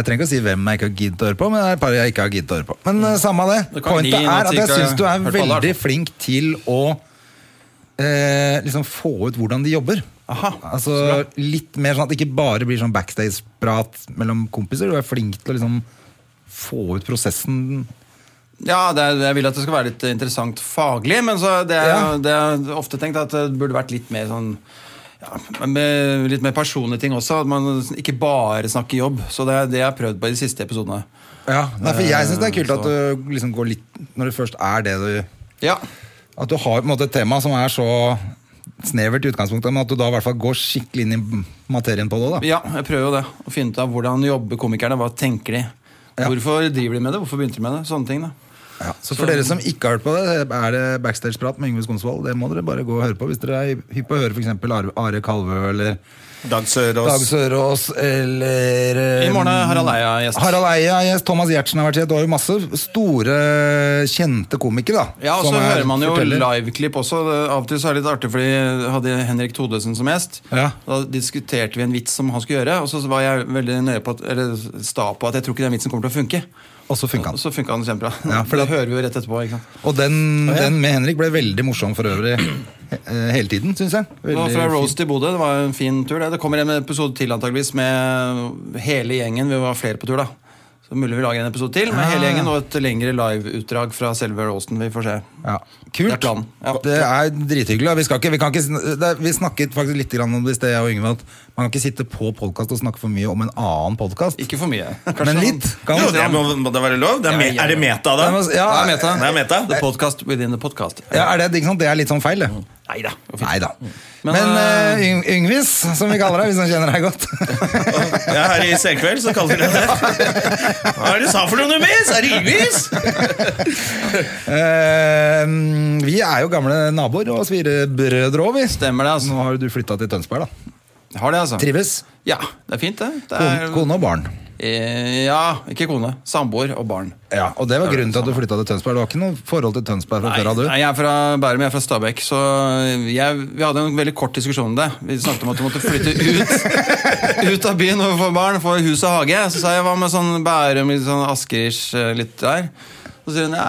S2: Jeg trenger ikke å si hvem jeg ikke har giddet å høre på, men det er et par jeg ikke har giddet å høre på. Men eh, samme det.
S4: Det kan
S2: Pointet
S4: gi noe
S2: er at
S4: til
S2: jeg
S4: ikke
S2: syns du
S4: har
S2: er
S4: hørt på alle,
S2: veldig
S4: altså.
S2: flink til å eh, liksom få ut hvordan de jobber. altså Litt mer sånn at det ikke bare blir sånn backstage-prat mellom kompiser. Du er flink til å liksom få ut prosessen.
S4: Ja, det er, Jeg vil at det skal være litt eh, interessant faglig, men så det er,
S2: Ja.
S4: det er ofte tenkt at det burde vært litt mer sånn men med litt mer personlige ting også. At man ikke bare snakker jobb. Så det er det jeg har prøvd på i de siste episodene.
S2: Ja, nei, for jeg syns det er
S4: eh,
S2: kult at du liksom går litt Når det først er det du
S4: Ja,
S2: At du har på en måte et tema som er så snevert i utgangspunktet, men at du da i hvert fall går skikkelig inn i materien på det. da
S4: ja jeg prøver jo det. Å finne ut av hvordan jobber komikerne. Hva tenker de?
S2: Ja.
S4: Hvorfor driver de med det? Hvorfor begynte de med det? Sånne ting da
S2: Så for dere som ikke har hørt på det, er det backstage-prat med Yngve Skomsvold. Det må dere bare gå og høre på hvis dere er hypp på å høre f.eks. Are Kalvø eller
S1: Dag Sørås.
S2: Dag Sørås eller eh,
S4: I morgen er Harald Eia gjest.
S2: Harald Eia gjest, Thomas Giertsen har vært gjest. Du har jo masse store, kjente komikere, da.
S4: Ja, og så
S2: som er
S4: hører man jo
S2: fortellere.
S4: liveklipp også. Av og til så er det litt artig, fordi jeg hadde Henrik Thodesen som gjest.
S2: Ja.
S4: Da diskuterte vi en vits som han skulle gjøre, og så var jeg veldig nøye på at, eller sta på at jeg tror ikke den vitsen kommer til å funke.
S2: Og så funka
S4: Og
S2: han.
S4: så funka den kjempebra.
S2: Ja, for
S4: det,
S2: det-
S4: hører vi jo rett etterpå. ikke sant?
S2: Og den, den med Henrik ble veldig morsom for øvrig eh, hele tiden, syns jeg.
S4: Det var
S2: Veldig
S4: fra
S2: fin.
S4: Rose til Bodø. Det var en fin tur. Det, det kommer en episode til antageligvis med hele gjengen. Vi var flere på tur, da. Så mulig vi lager en episode til med
S2: Ah.
S4: hele gjengen og et lengre liveutdrag fra selve Rosen. Vi får se.
S2: Ja.
S4: Det er
S2: Kult.
S4: planen. Ja.
S2: Det er drithyggelig. og Vi, skal ikke, vi, kan ikke, sn- det, er- vi snakket faktisk litt grann om det i sted, jeg og Yngve, at man kan ikke sitte på podkast og snakke for mye om en annen podkast.
S4: Ikke for mye.
S2: Men litt. Kan
S1: Jo,
S2: man,
S1: det må, må det være lov? Det er,
S4: Ja,
S1: me,
S4: ja,
S1: er det
S4: ja.
S1: meta, da?
S2: Det er- ja,
S1: det er meta. Det er meta.
S4: The podcast within the podcast.
S2: ja, er det, ikke sant? det er litt sånn feil, det.
S4: Nei da.
S2: Nei da.
S4: Mm. Men,
S2: Men, eh, Yng- Yngvis, som vi kaller deg, hvis han kjenner deg godt.
S1: Ja, her i Senkveld så kaller de det det. Hva er det du sa for noe, Numis? Er det Yngvis?
S2: Eh, vi er jo gamle naboer og svirebrødre òg, vi.
S4: Stemmer det, altså.
S2: Nå har du flytta til Tønsberg, da.
S4: Har det, altså.
S2: Trives?
S4: Ja, det er fint, det. det er,
S2: Kone, kone og barn.
S4: Eh, Ja, ikke kone. Samboer og barn.
S2: Ja, Og det var grunnen til at du flytta til Tønsberg. Du har ikke noe forhold til Tønsberg fra før av, du?
S4: nei, jeg er fra Bærum, jeg er fra Stabekk. Så jeg, vi hadde en veldig kort diskusjon om det. Vi snakket om at du måtte flytte ut, ut av byen og få barn, få hus og hage. Så sa jeg hva med sånn Bærum, litt sånn Askerish, eh, litt der. Så sier hun ja,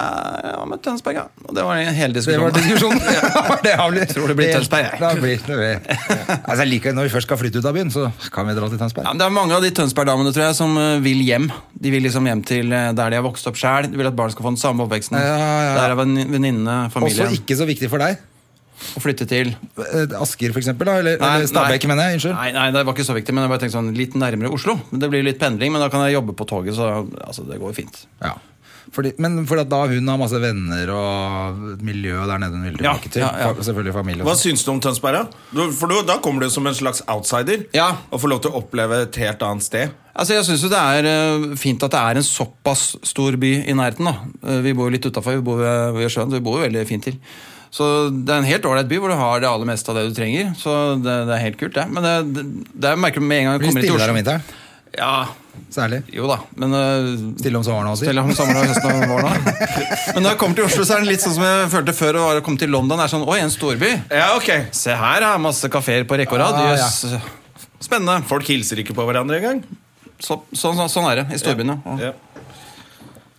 S4: ja, med Tønsberg, ja. Og det var hele
S2: Det
S4: diskusjonen.
S2: var diskusjonen. det har blitt,
S4: Tror det blir Tønsberg, jeg.
S2: Da blir det det. Altså, jeg liker, når vi først skal flytte ut av byen, så kan vi dra til Tønsberg.
S4: Ja, men det er mange av de Tønsberg-damene tror jeg, som eh, vil hjem. De vil liksom hjem til eh, der de har vokst opp sjæl. De vil at barn skal få den samme oppveksten.
S2: Ja, ja, ja.
S4: Der er venni- venninnene,
S2: Også
S4: familien.
S2: ikke så viktig for deg.
S4: Å flytte til.
S2: Eh, Asker, for eksempel. Da, eller, eller Stabekk,
S4: nei.
S2: mener jeg. Unnskyld.
S4: Nei, nei, det var ikke så viktig, men jeg bare tenkte sånn litt nærmere Oslo. Men Det blir litt pendling, men da kan jeg jobbe på toget, så altså, det går jo fint.
S2: Ja. Fordi, men fordi at da hun har masse venner og et miljø der nede hun vil
S4: Ja,
S2: tilbake til.
S4: ja, ja.
S2: Fa- Selvfølgelig familie.
S1: Hva
S2: og sånn.
S1: syns du om Tønsberg, da? Du- For du, da kommer du som en slags outsider
S4: Ja.
S1: og får lov til å oppleve et helt annet sted.
S4: Altså, Jeg syns jo det er eh, fint at det er en såpass stor by i nærheten. da. Eh, Vi bor jo litt utafor, vi bor ved, ved sjøen, så vi bor jo veldig fint til. Så det er en helt ålreit by hvor du har det aller meste av det du trenger. Så det, det er helt kult, det. Men det, det, det er- merker du med en gang jeg
S2: Blir
S4: kommer hit
S2: stille der om
S4: til Oslo.
S2: vinteren,
S4: Ja,
S2: særlig.
S4: jo da, men eh,
S2: Stille om sommeren også.
S4: Stell om sommeren og høsten og våren også. Men når jeg kommer til Oslo, så er det litt sånn som jeg følte før å være- komme til London. Det er sånn, Oi, en storby.
S1: Ja, ok
S4: Se her, er masse kafeer på rekke og rad.
S2: Ah, ja.
S4: Jøss. Spennende.
S1: Folk hilser ikke på hverandre engang.
S4: Så, sånn- sånn- sånn er det i storbyen, ja.
S1: Ja.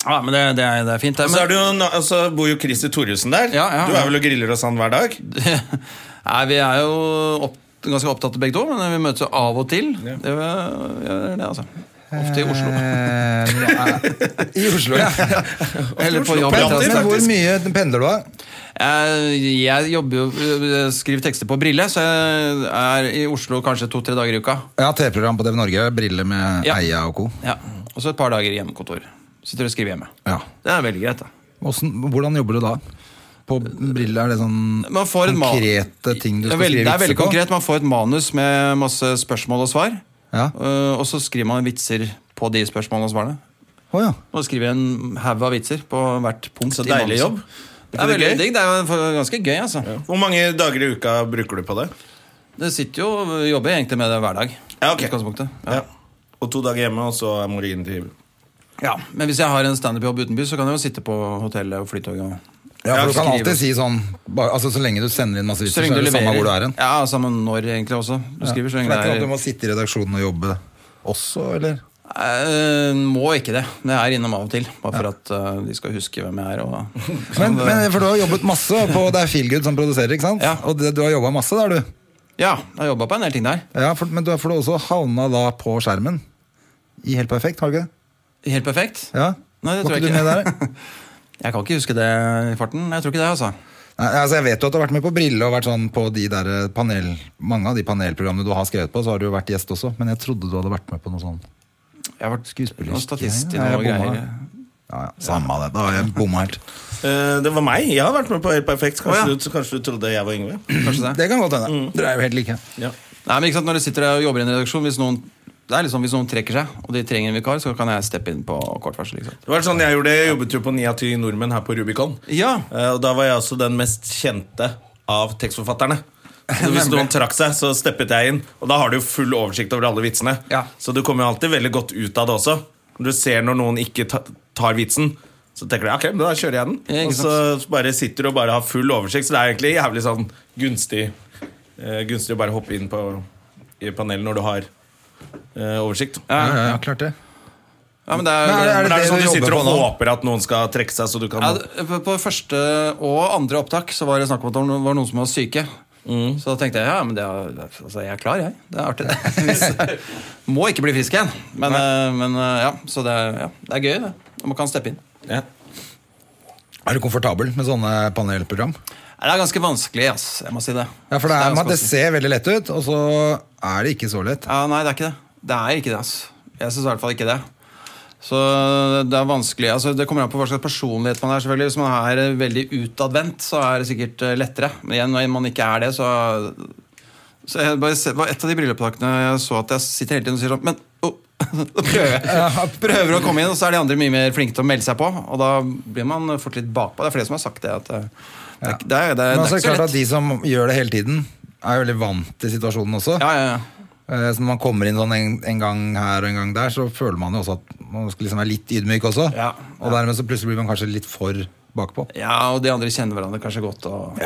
S4: ja men det, det, er, det er fint, det.
S1: Så, er
S4: Men,
S1: det jo, na- så bor jo Christer Thoresen der.
S4: Ja, ja,
S1: du
S4: ja.
S1: er vel og griller hos han hver dag?
S4: nei, vi er jo opp, ganske opptatt begge to, men vi møtes jo av og til. Det gjør det, altså. Ofte i Oslo.
S2: Eh, nei. I Oslo, ja.
S4: Eller på
S1: Oslo.
S4: jobb.
S1: Ja,
S4: etter at-
S1: det
S2: Men hvor mye pendler du, da?
S4: Eh, Jeg jobber jo, jeg skriver tekster på Brille, så jeg er i Oslo kanskje to-tre dager i uka.
S2: Ja, TV-program på TV Norge. Briller med
S4: Ja.
S2: Eia og co.
S4: Ja, Og så et par dager i hjemmekontor. Sitter og skriver hjemme.
S2: Ja.
S4: Det er veldig greit, da.
S2: Hvordan, hvordan jobber du da? På briller, er det sånn
S4: Man får et ma-
S2: konkrete ting du
S4: Det er
S2: skal
S4: veldig,
S2: skrive
S4: det er veldig
S2: vitser på?
S4: konkret. Man får et manus med masse spørsmål og svar.
S2: Ja.
S4: Eh, og så skriver man vitser på de spørsmålene og svarene.
S2: Å, ja.
S4: Og skriver en haug av vitser på hvert punkt.
S1: Så
S4: i
S1: deilig
S4: manuset.
S1: jobb.
S4: Det er
S1: ikke det
S4: veldig
S1: gøy?
S4: digg. Det er jo for- ganske gøy, altså.
S1: Hvor mange dager i uka bruker du på det?
S4: Det sitter jo, jobber egentlig med det hver dag.
S1: Ja, ok.
S4: i utgangspunktet.
S1: Ja. Og to dager hjemme, og så er mor inne til
S4: Ja, Men hvis jeg har en standup-jobb utenby, så kan jeg jo sitte på hotellet og flytoget. og-
S2: Ja,
S1: Ja,
S2: for du kan
S4: skrive.
S2: alltid si sånn bare, altså, Så lenge du sender inn masse vitser, så er det samme hvor du er hen.
S4: Ja, samme når, egentlig også. Du skriver så
S2: For
S4: lenge
S2: det er ikke
S4: det
S2: sånn at
S4: er
S2: du må sitte i redaksjonen og jobbe også, eller?
S4: Eh, må ikke det. Men jeg er innom av og til. Bare for at eh, de skal huske hvem jeg er. Og...
S2: Men, men for du har jobbet masse på Det er Feelgood som produserer, ikke sant?
S4: Ja.
S2: Og det, du har jobba masse der, du.
S4: Ja, jeg har jobba på en del ting der.
S2: Ja, for, men du har for du har også havna da på skjermen. I Helt perfekt, har du ikke det?
S4: Helt perfekt.
S2: Ja?
S4: Nei, det
S2: Var
S4: tror jeg
S2: ikke du
S4: ikke.
S2: med der?
S4: Jeg kan ikke huske det i farten. Jeg tror ikke det, altså.
S2: Nei, altså jeg vet jo at du har vært med på Brille og vært sånn på de der eh, panel, mange av de panelprogrammene du har skrevet på, så har du jo vært gjest også, men jeg trodde du hadde vært med på noe sånn
S4: Jeg har vært skuespiller og statist i
S2: Ja, jeg
S4: noen
S2: bomma.
S4: greier.
S2: Ja, ja, samme av det, da har jeg bomma helt.
S1: Eh, det var meg. Jeg har vært med på Helt perfekt. Kanskje,
S4: Å, ja.
S1: du, kanskje du trodde jeg var Yngve?
S4: Kanskje det.
S2: Det kan godt hende.
S4: Mm.
S2: Dere er jo helt like.
S1: Ja.
S4: Nei, men ikke sant, Når du sitter der og jobber i en redaksjon Hvis noen, det er liksom, hvis noen trekker seg, og de trenger en vikar, så kan jeg steppe inn på kort varsel. Ikke sant?
S1: Det var sånn Jeg gjorde det, jeg jobbet jo på ni av ti nordmenn her på Rubicon.
S4: Ja.
S1: Eh, og da var jeg også den mest kjente av tekstforfatterne. Så hvis noen trakk seg, så steppet jeg inn. Og da har du jo full oversikt over alle vitsene.
S4: Ja.
S1: Så du kommer jo alltid veldig godt ut av det også. Når du ser når noen ikke ta, tar vitsen, så tenker du ok, men da kjører jeg den.
S4: Ja, ikke
S1: og så bare sitter du og bare har full oversikt, så det er egentlig jævlig sånn gunstig, eh, gunstig å bare hoppe inn på, i panelet når du har eh, oversikt.
S4: Ja,
S2: Ja,
S4: ja.
S2: ja, klart det.
S4: ja, men det er,
S2: Men er
S1: Men er det sånn
S2: dere
S1: du sitter
S2: jobber
S1: og
S2: på nå?
S1: håper at noen skal trekke seg, så du kan
S4: Ja, det- på- på første og andre opptak så var det snakk om at det var noen som var syke.
S2: Mm.
S4: Så da tenkte jeg ja, men det er, altså, jeg er klar, jeg. Det er artig, det. Hvis- Må ikke bli frisk igjen. Men, eh, men eh, ja, så det er, ja, det er gøy, det. Man kan steppe inn.
S1: Ja.
S2: Er du komfortabel med sånne panelprogram?
S4: Nei, Det er ganske vanskelig, ass. Jeg må si det.
S2: Ja, for det, er,
S4: ganske
S2: det
S4: vanskelig.
S2: ser veldig lett ut, og så er det ikke så lett.
S4: Ja, nei, det er ikke det. Det er ikke det, ass. Jeg syns i hvert fall ikke det. Så det er vanskelig. Altså, det kommer an på hva slags personlighet man er. selvfølgelig. Hvis man er eh, veldig utadvendt, så er det sikkert eh, lettere. Men igjen, når man ikke er det, så så jeg bare ser, det var Et av de brilleopptakene jeg så at jeg sitter hele tiden og sier sånn Men oh, da prøver jeg. Prøver å komme inn, og så er de andre mye mer flinke til å melde seg på. Og da blir man fort litt bakpå. Det er flere som har sagt det. at eh, det er, ikke- det er, det er,
S2: Men
S4: det
S2: altså,
S4: er ikke så
S2: klart at
S4: lett.
S2: De som gjør det hele tiden, er jo veldig vant til situasjonen også.
S4: Ja, ja, ja.
S2: Eh, Så når man kommer inn sånn en, en gang her og en gang der, så føler man jo også at man skal liksom være litt ydmyk også.
S4: Ja.
S2: Og dermed så plutselig blir man kanskje litt for bakpå.
S4: ja, og de andre kjenner hverandre kanskje godt. og...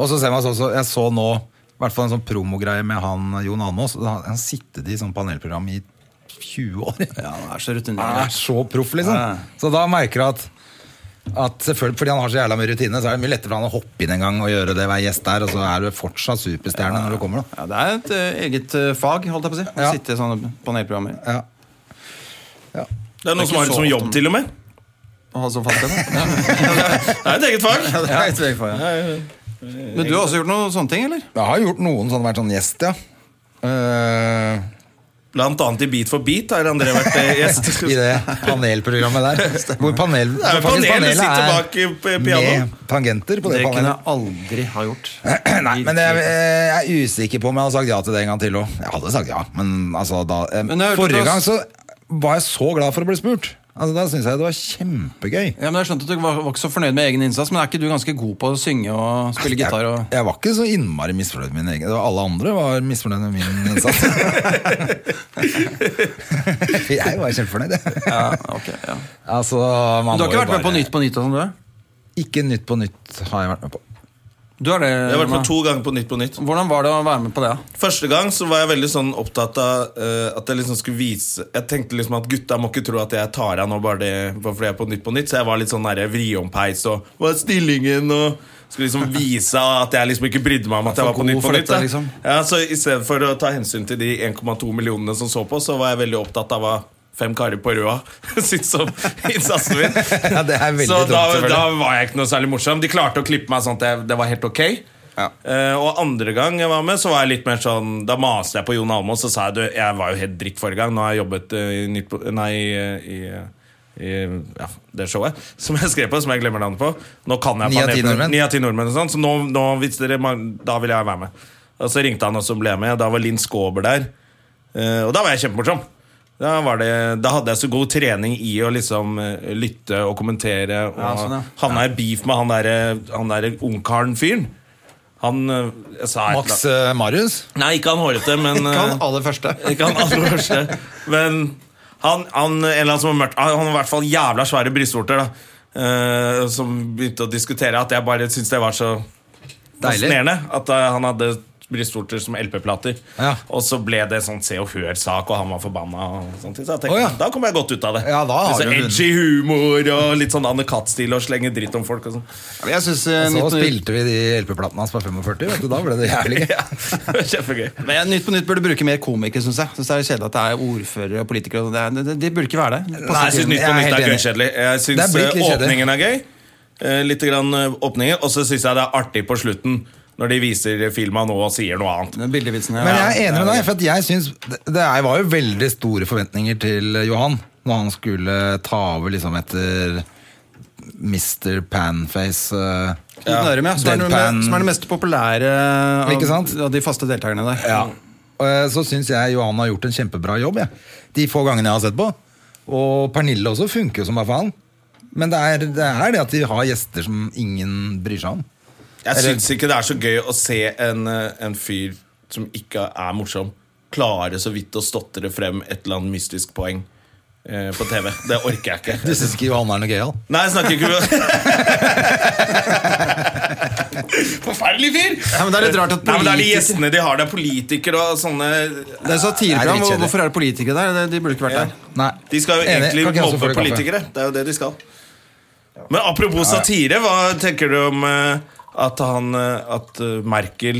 S2: Og så ser man så, så, jeg så nå i hvert fall en sånn promogreie med han Jon Almaas. og Han han sittet i sånn panelprogram i 20 år.
S4: Ja, han er så rutinert.
S2: Han er så proff,
S4: Ja.
S2: liksom. Så da merker du at at selvfølgelig, Fordi han har så jævla mye rutine, så er det mye lettere for han å hoppe inn en gang og gjøre det, være gjest der, og så er du fortsatt superstjerne når du kommer. da
S4: Ja, det er et eh, eget eh, fag, holdt jeg på å si. Å
S2: Ja.
S4: sitte i sånne panelprogrammer.
S2: ja.
S1: Det er noen
S4: Det er
S1: som
S4: ikke
S1: har det som
S4: så ofte.
S1: jobb, til og med.
S4: Og ha så fast det.
S1: Det er et eget fag.
S2: Ja, det er helt for, ja.
S4: Men du har også gjort noen sånne ting, eller?
S2: Jeg har gjort noen sånn, vært sånn gjest, ja. Eh,
S1: Blant annet i Beat for beat har André vært eh, gjest.
S2: I det panelprogrammet der. Hvor panel,
S1: Det er jo
S2: faktisk
S1: panelet
S2: panelet
S1: sitter
S2: er
S1: bak i p- piano.
S2: Med tangenter på det,
S4: Det kunne
S2: panelet.
S4: jeg aldri ha gjort.
S2: Nei, men jeg, eh, jeg er usikker på om jeg hadde sagt ja til det en gang til òg. Jeg hadde sagt ja, men altså da eh,
S4: Men jeg hørte
S2: Forrige
S4: på-
S2: gang så var jeg så glad for å bli spurt. Altså, da syns jeg det var kjempegøy.
S4: Ja, men Jeg skjønte at du var, var ikke så fornøyd med egen innsats, men er ikke du ganske god på å synge og spille gitar?
S2: Jeg,
S4: og...
S2: jeg var ikke så innmari misfornøyd med min egen. Det var alle andre var misfornøyd med min innsats. jeg var kjempefornøyd, jeg.
S4: Ja, ok, ja.
S2: Altså,
S4: Men
S2: man
S4: du har
S2: må
S4: ikke
S2: jo
S4: vært med på
S2: bare-
S4: Nytt på Nytt og sånn, du? er?
S2: Ikke Nytt på Nytt har jeg vært med på.
S4: Du er det,
S1: Jeg har vært med
S4: Rema.
S1: to ganger på Nytt på Nytt.
S4: Hvordan var det å være med på det? da?
S1: Første gang så var jeg veldig sånn opptatt av eh, at jeg liksom skulle vise Jeg tenkte liksom at gutta må ikke tro at jeg tar av nå bare, det, bare fordi jeg er på Nytt på Nytt. Så jeg var litt sånn der vriompeis og Hva er stillingen? og skulle liksom vise at jeg liksom ikke brydde meg om at jeg
S4: For
S1: var på
S4: god
S1: Nytt på
S4: for
S1: Nytt.
S4: dette,
S1: da.
S4: liksom.
S1: Ja, så I stedet for å ta hensyn til de 1,2 millionene som så på, så var jeg veldig opptatt av hva fem karer på Røa syntes om innsatsen min.
S2: Ja, det er veldig
S1: så da,
S2: dumt, selvfølgelig.
S1: da var jeg ikke noe særlig morsom. De klarte å klippe meg sånn at jeg, det var helt ok.
S2: Ja.
S1: Eh, og andre gang jeg var med, så var jeg litt mer sånn Da maste jeg på Jon Almaas og sa jeg, du, jeg var jo helt dritt forrige gang. Nå har jeg jobbet eh, i nytt på- Nei, eh, i, eh, i ja, det showet som jeg skrev på, som jeg glemmer navnet på. Nå kan jeg
S2: Ni av ti
S1: panelprogrammet-
S2: nordmenn.
S1: Ni av ti nordmenn og sånn, så nå, nå hvis dere, man- da vil jeg være med. Og så ringte han og så ble jeg med, og da var Linn Skåber der. Eh, og da var jeg kjempemorsom. Da, var det, da hadde jeg så god trening i å liksom eh, lytte og kommentere. Og
S4: Ja, sånn, ja.
S1: havna i beef med han derre han der ungkaren-fyren. Han eh, jeg sa et
S2: Max
S1: eller annet-
S2: eh, Marius?
S1: Nei, ikke han hårete, men
S4: Ikke han
S1: eh,
S4: aller første.
S1: ikke han aller første. Men han, han, en eller annen som har mørkt, han har i hvert fall jævla svære brystvorter, da. eh, som begynte å diskutere at jeg bare syntes det var så
S2: Deilig.
S1: fascinerende. At eh, han hadde brystvorter som LP-plater.
S2: Ja.
S1: Og så ble det sånn Se og Hør-sak, og han var forbanna. Og sånt, så jeg tenkte,
S2: Å, ja.
S1: Da kom jeg godt ut av det.
S2: Ja, da har
S1: Litt
S2: du
S1: sånn edgy humor og litt sånn Anne Katt-stil og slenge dritt om folk og sånn.
S4: Jeg synes, eh,
S2: Så
S4: Nytt på Nytt
S2: spilte vi de LP-platene hans på 45, vet du. Da ble det jævlig gøy.
S1: Ja, Kjempegøy.
S4: Men jeg- Nytt på Nytt burde bruke mer komikere, syns jeg. Synes det er kjedelig at det er ordførere og politikere. og Det, er- det, det, det burde ikke være det.
S1: Nei, jeg syns Nytt
S2: Jeg
S1: på
S2: er
S1: Nytt
S2: helt
S1: er
S2: enig.
S1: gøykjedelig. Jeg
S2: Det
S1: syns
S2: er blitt litt kjedelig.
S1: åpningen er gøy. eh, litt grann eh, åpninger, og så syns jeg det er artig på slutten. Når de viser filma nå og sier noe annet.
S4: Den bildevitsen her.
S2: Men
S4: ja.
S2: jeg er enig med deg, for at jeg synes det, det er- var jo veldig store forventninger til Johan når han skulle ta over liksom etter Mr. Panface. eh.
S4: Knuten Ørum, ja. Som, er den,
S2: Deadpan.
S4: som er den mest populære av,
S2: Ikke sant?
S4: av de faste deltakerne der.
S2: Og, eh, Så syns jeg Johan har gjort en kjempebra jobb, jeg. de få gangene jeg har sett på. Og Pernille også funker jo som bare faen. Men det er, det er det at de har gjester som ingen bryr seg om.
S1: Jeg syns ikke det er så gøy å se en, eh, en fyr som ikke er morsom, klare så vidt å stotre frem et eller annet mystisk poeng eh, på TV. Det orker jeg
S2: Du
S1: ikke.
S2: syns ikke Johan er noe gøyal?
S1: Nei, jeg snakker ikke Forferdelig fyr!
S4: Ja, men det er litt rart at
S1: Nei, men det er de
S4: politiker-
S1: gjestene de har. Det er politikere og sånne
S4: Det er
S2: Nei,
S4: satireprogram.
S2: det er
S4: hvor-
S2: litt
S4: Hvorfor er det politikere der? Det- De burde ikke vært
S1: Ja.
S4: der.
S2: Nei.
S1: De skal jo
S2: Enig. Kan ikke
S1: egentlig
S2: jeg også få
S1: mobbe
S2: litt kaffe?
S1: politikere. Det er jo det de skal. Men apropos satire, hva tenker du om eh, at han eh, At eh, Merkel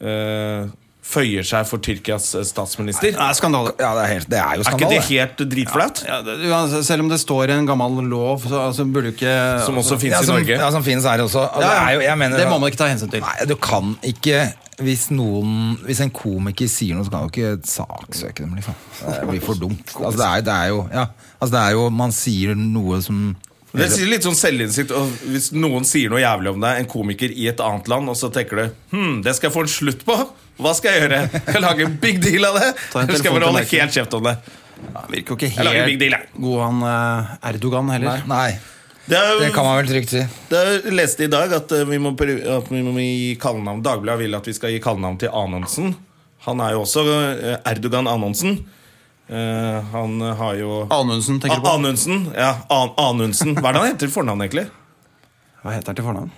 S1: eh, føyer seg for Tyrkias eh, statsminister?
S4: Nei, skandale.
S2: Ja, det er, helt, det er jo
S1: Er ikke
S2: skandale.
S1: det helt dritflaut?
S4: Ja, det, uansett, selv om det står i en gammel lov, så altså, burde du ikke
S1: Som også fins
S2: ja,
S1: i
S2: som,
S1: Norge.
S2: ja, som finnes her også. Og det, er jo, jeg mener,
S4: det må man ikke ta hensyn til.
S2: Nei, du kan ikke hvis, noen, hvis en komiker sier noe, så kan du ikke saksøke dem. Liksom. Det blir for dumt. Altså, det, er, det, er jo, ja, altså, det er jo Man sier noe som
S1: Det sier litt sånn selvinnsikt og Hvis noen sier noe jævlig om deg, en komiker i et annet land, og så tenker du Hm, det skal jeg få en slutt på. Hva skal jeg gjøre? Skal jeg lage en big deal av det?
S4: Ta en
S1: Eller skal jeg
S4: telefon til
S1: bare holde
S4: Merkel.
S1: helt kjeft om det?
S4: Ja, virker jo ikke
S1: Jeg lager
S4: helt
S1: big deal, jeg.
S4: god han eh, Erdogan heller.
S2: Nei,
S1: Det, er,
S2: det kan man vel trygt si.
S1: Jeg leste i dag at eh, vi må, prø- at vi må gi kallenavn Dagbladet vil at vi skal gi kallenavn til Anundsen. Han er jo også eh, Erdogan Anundsen. Eh, han har jo
S4: Anundsen, tenker du
S1: A-
S4: på?
S1: Anundsen. Ja, An Anundsen. Hva er det han heter til fornavn, egentlig?
S4: Hva heter han til fornavn?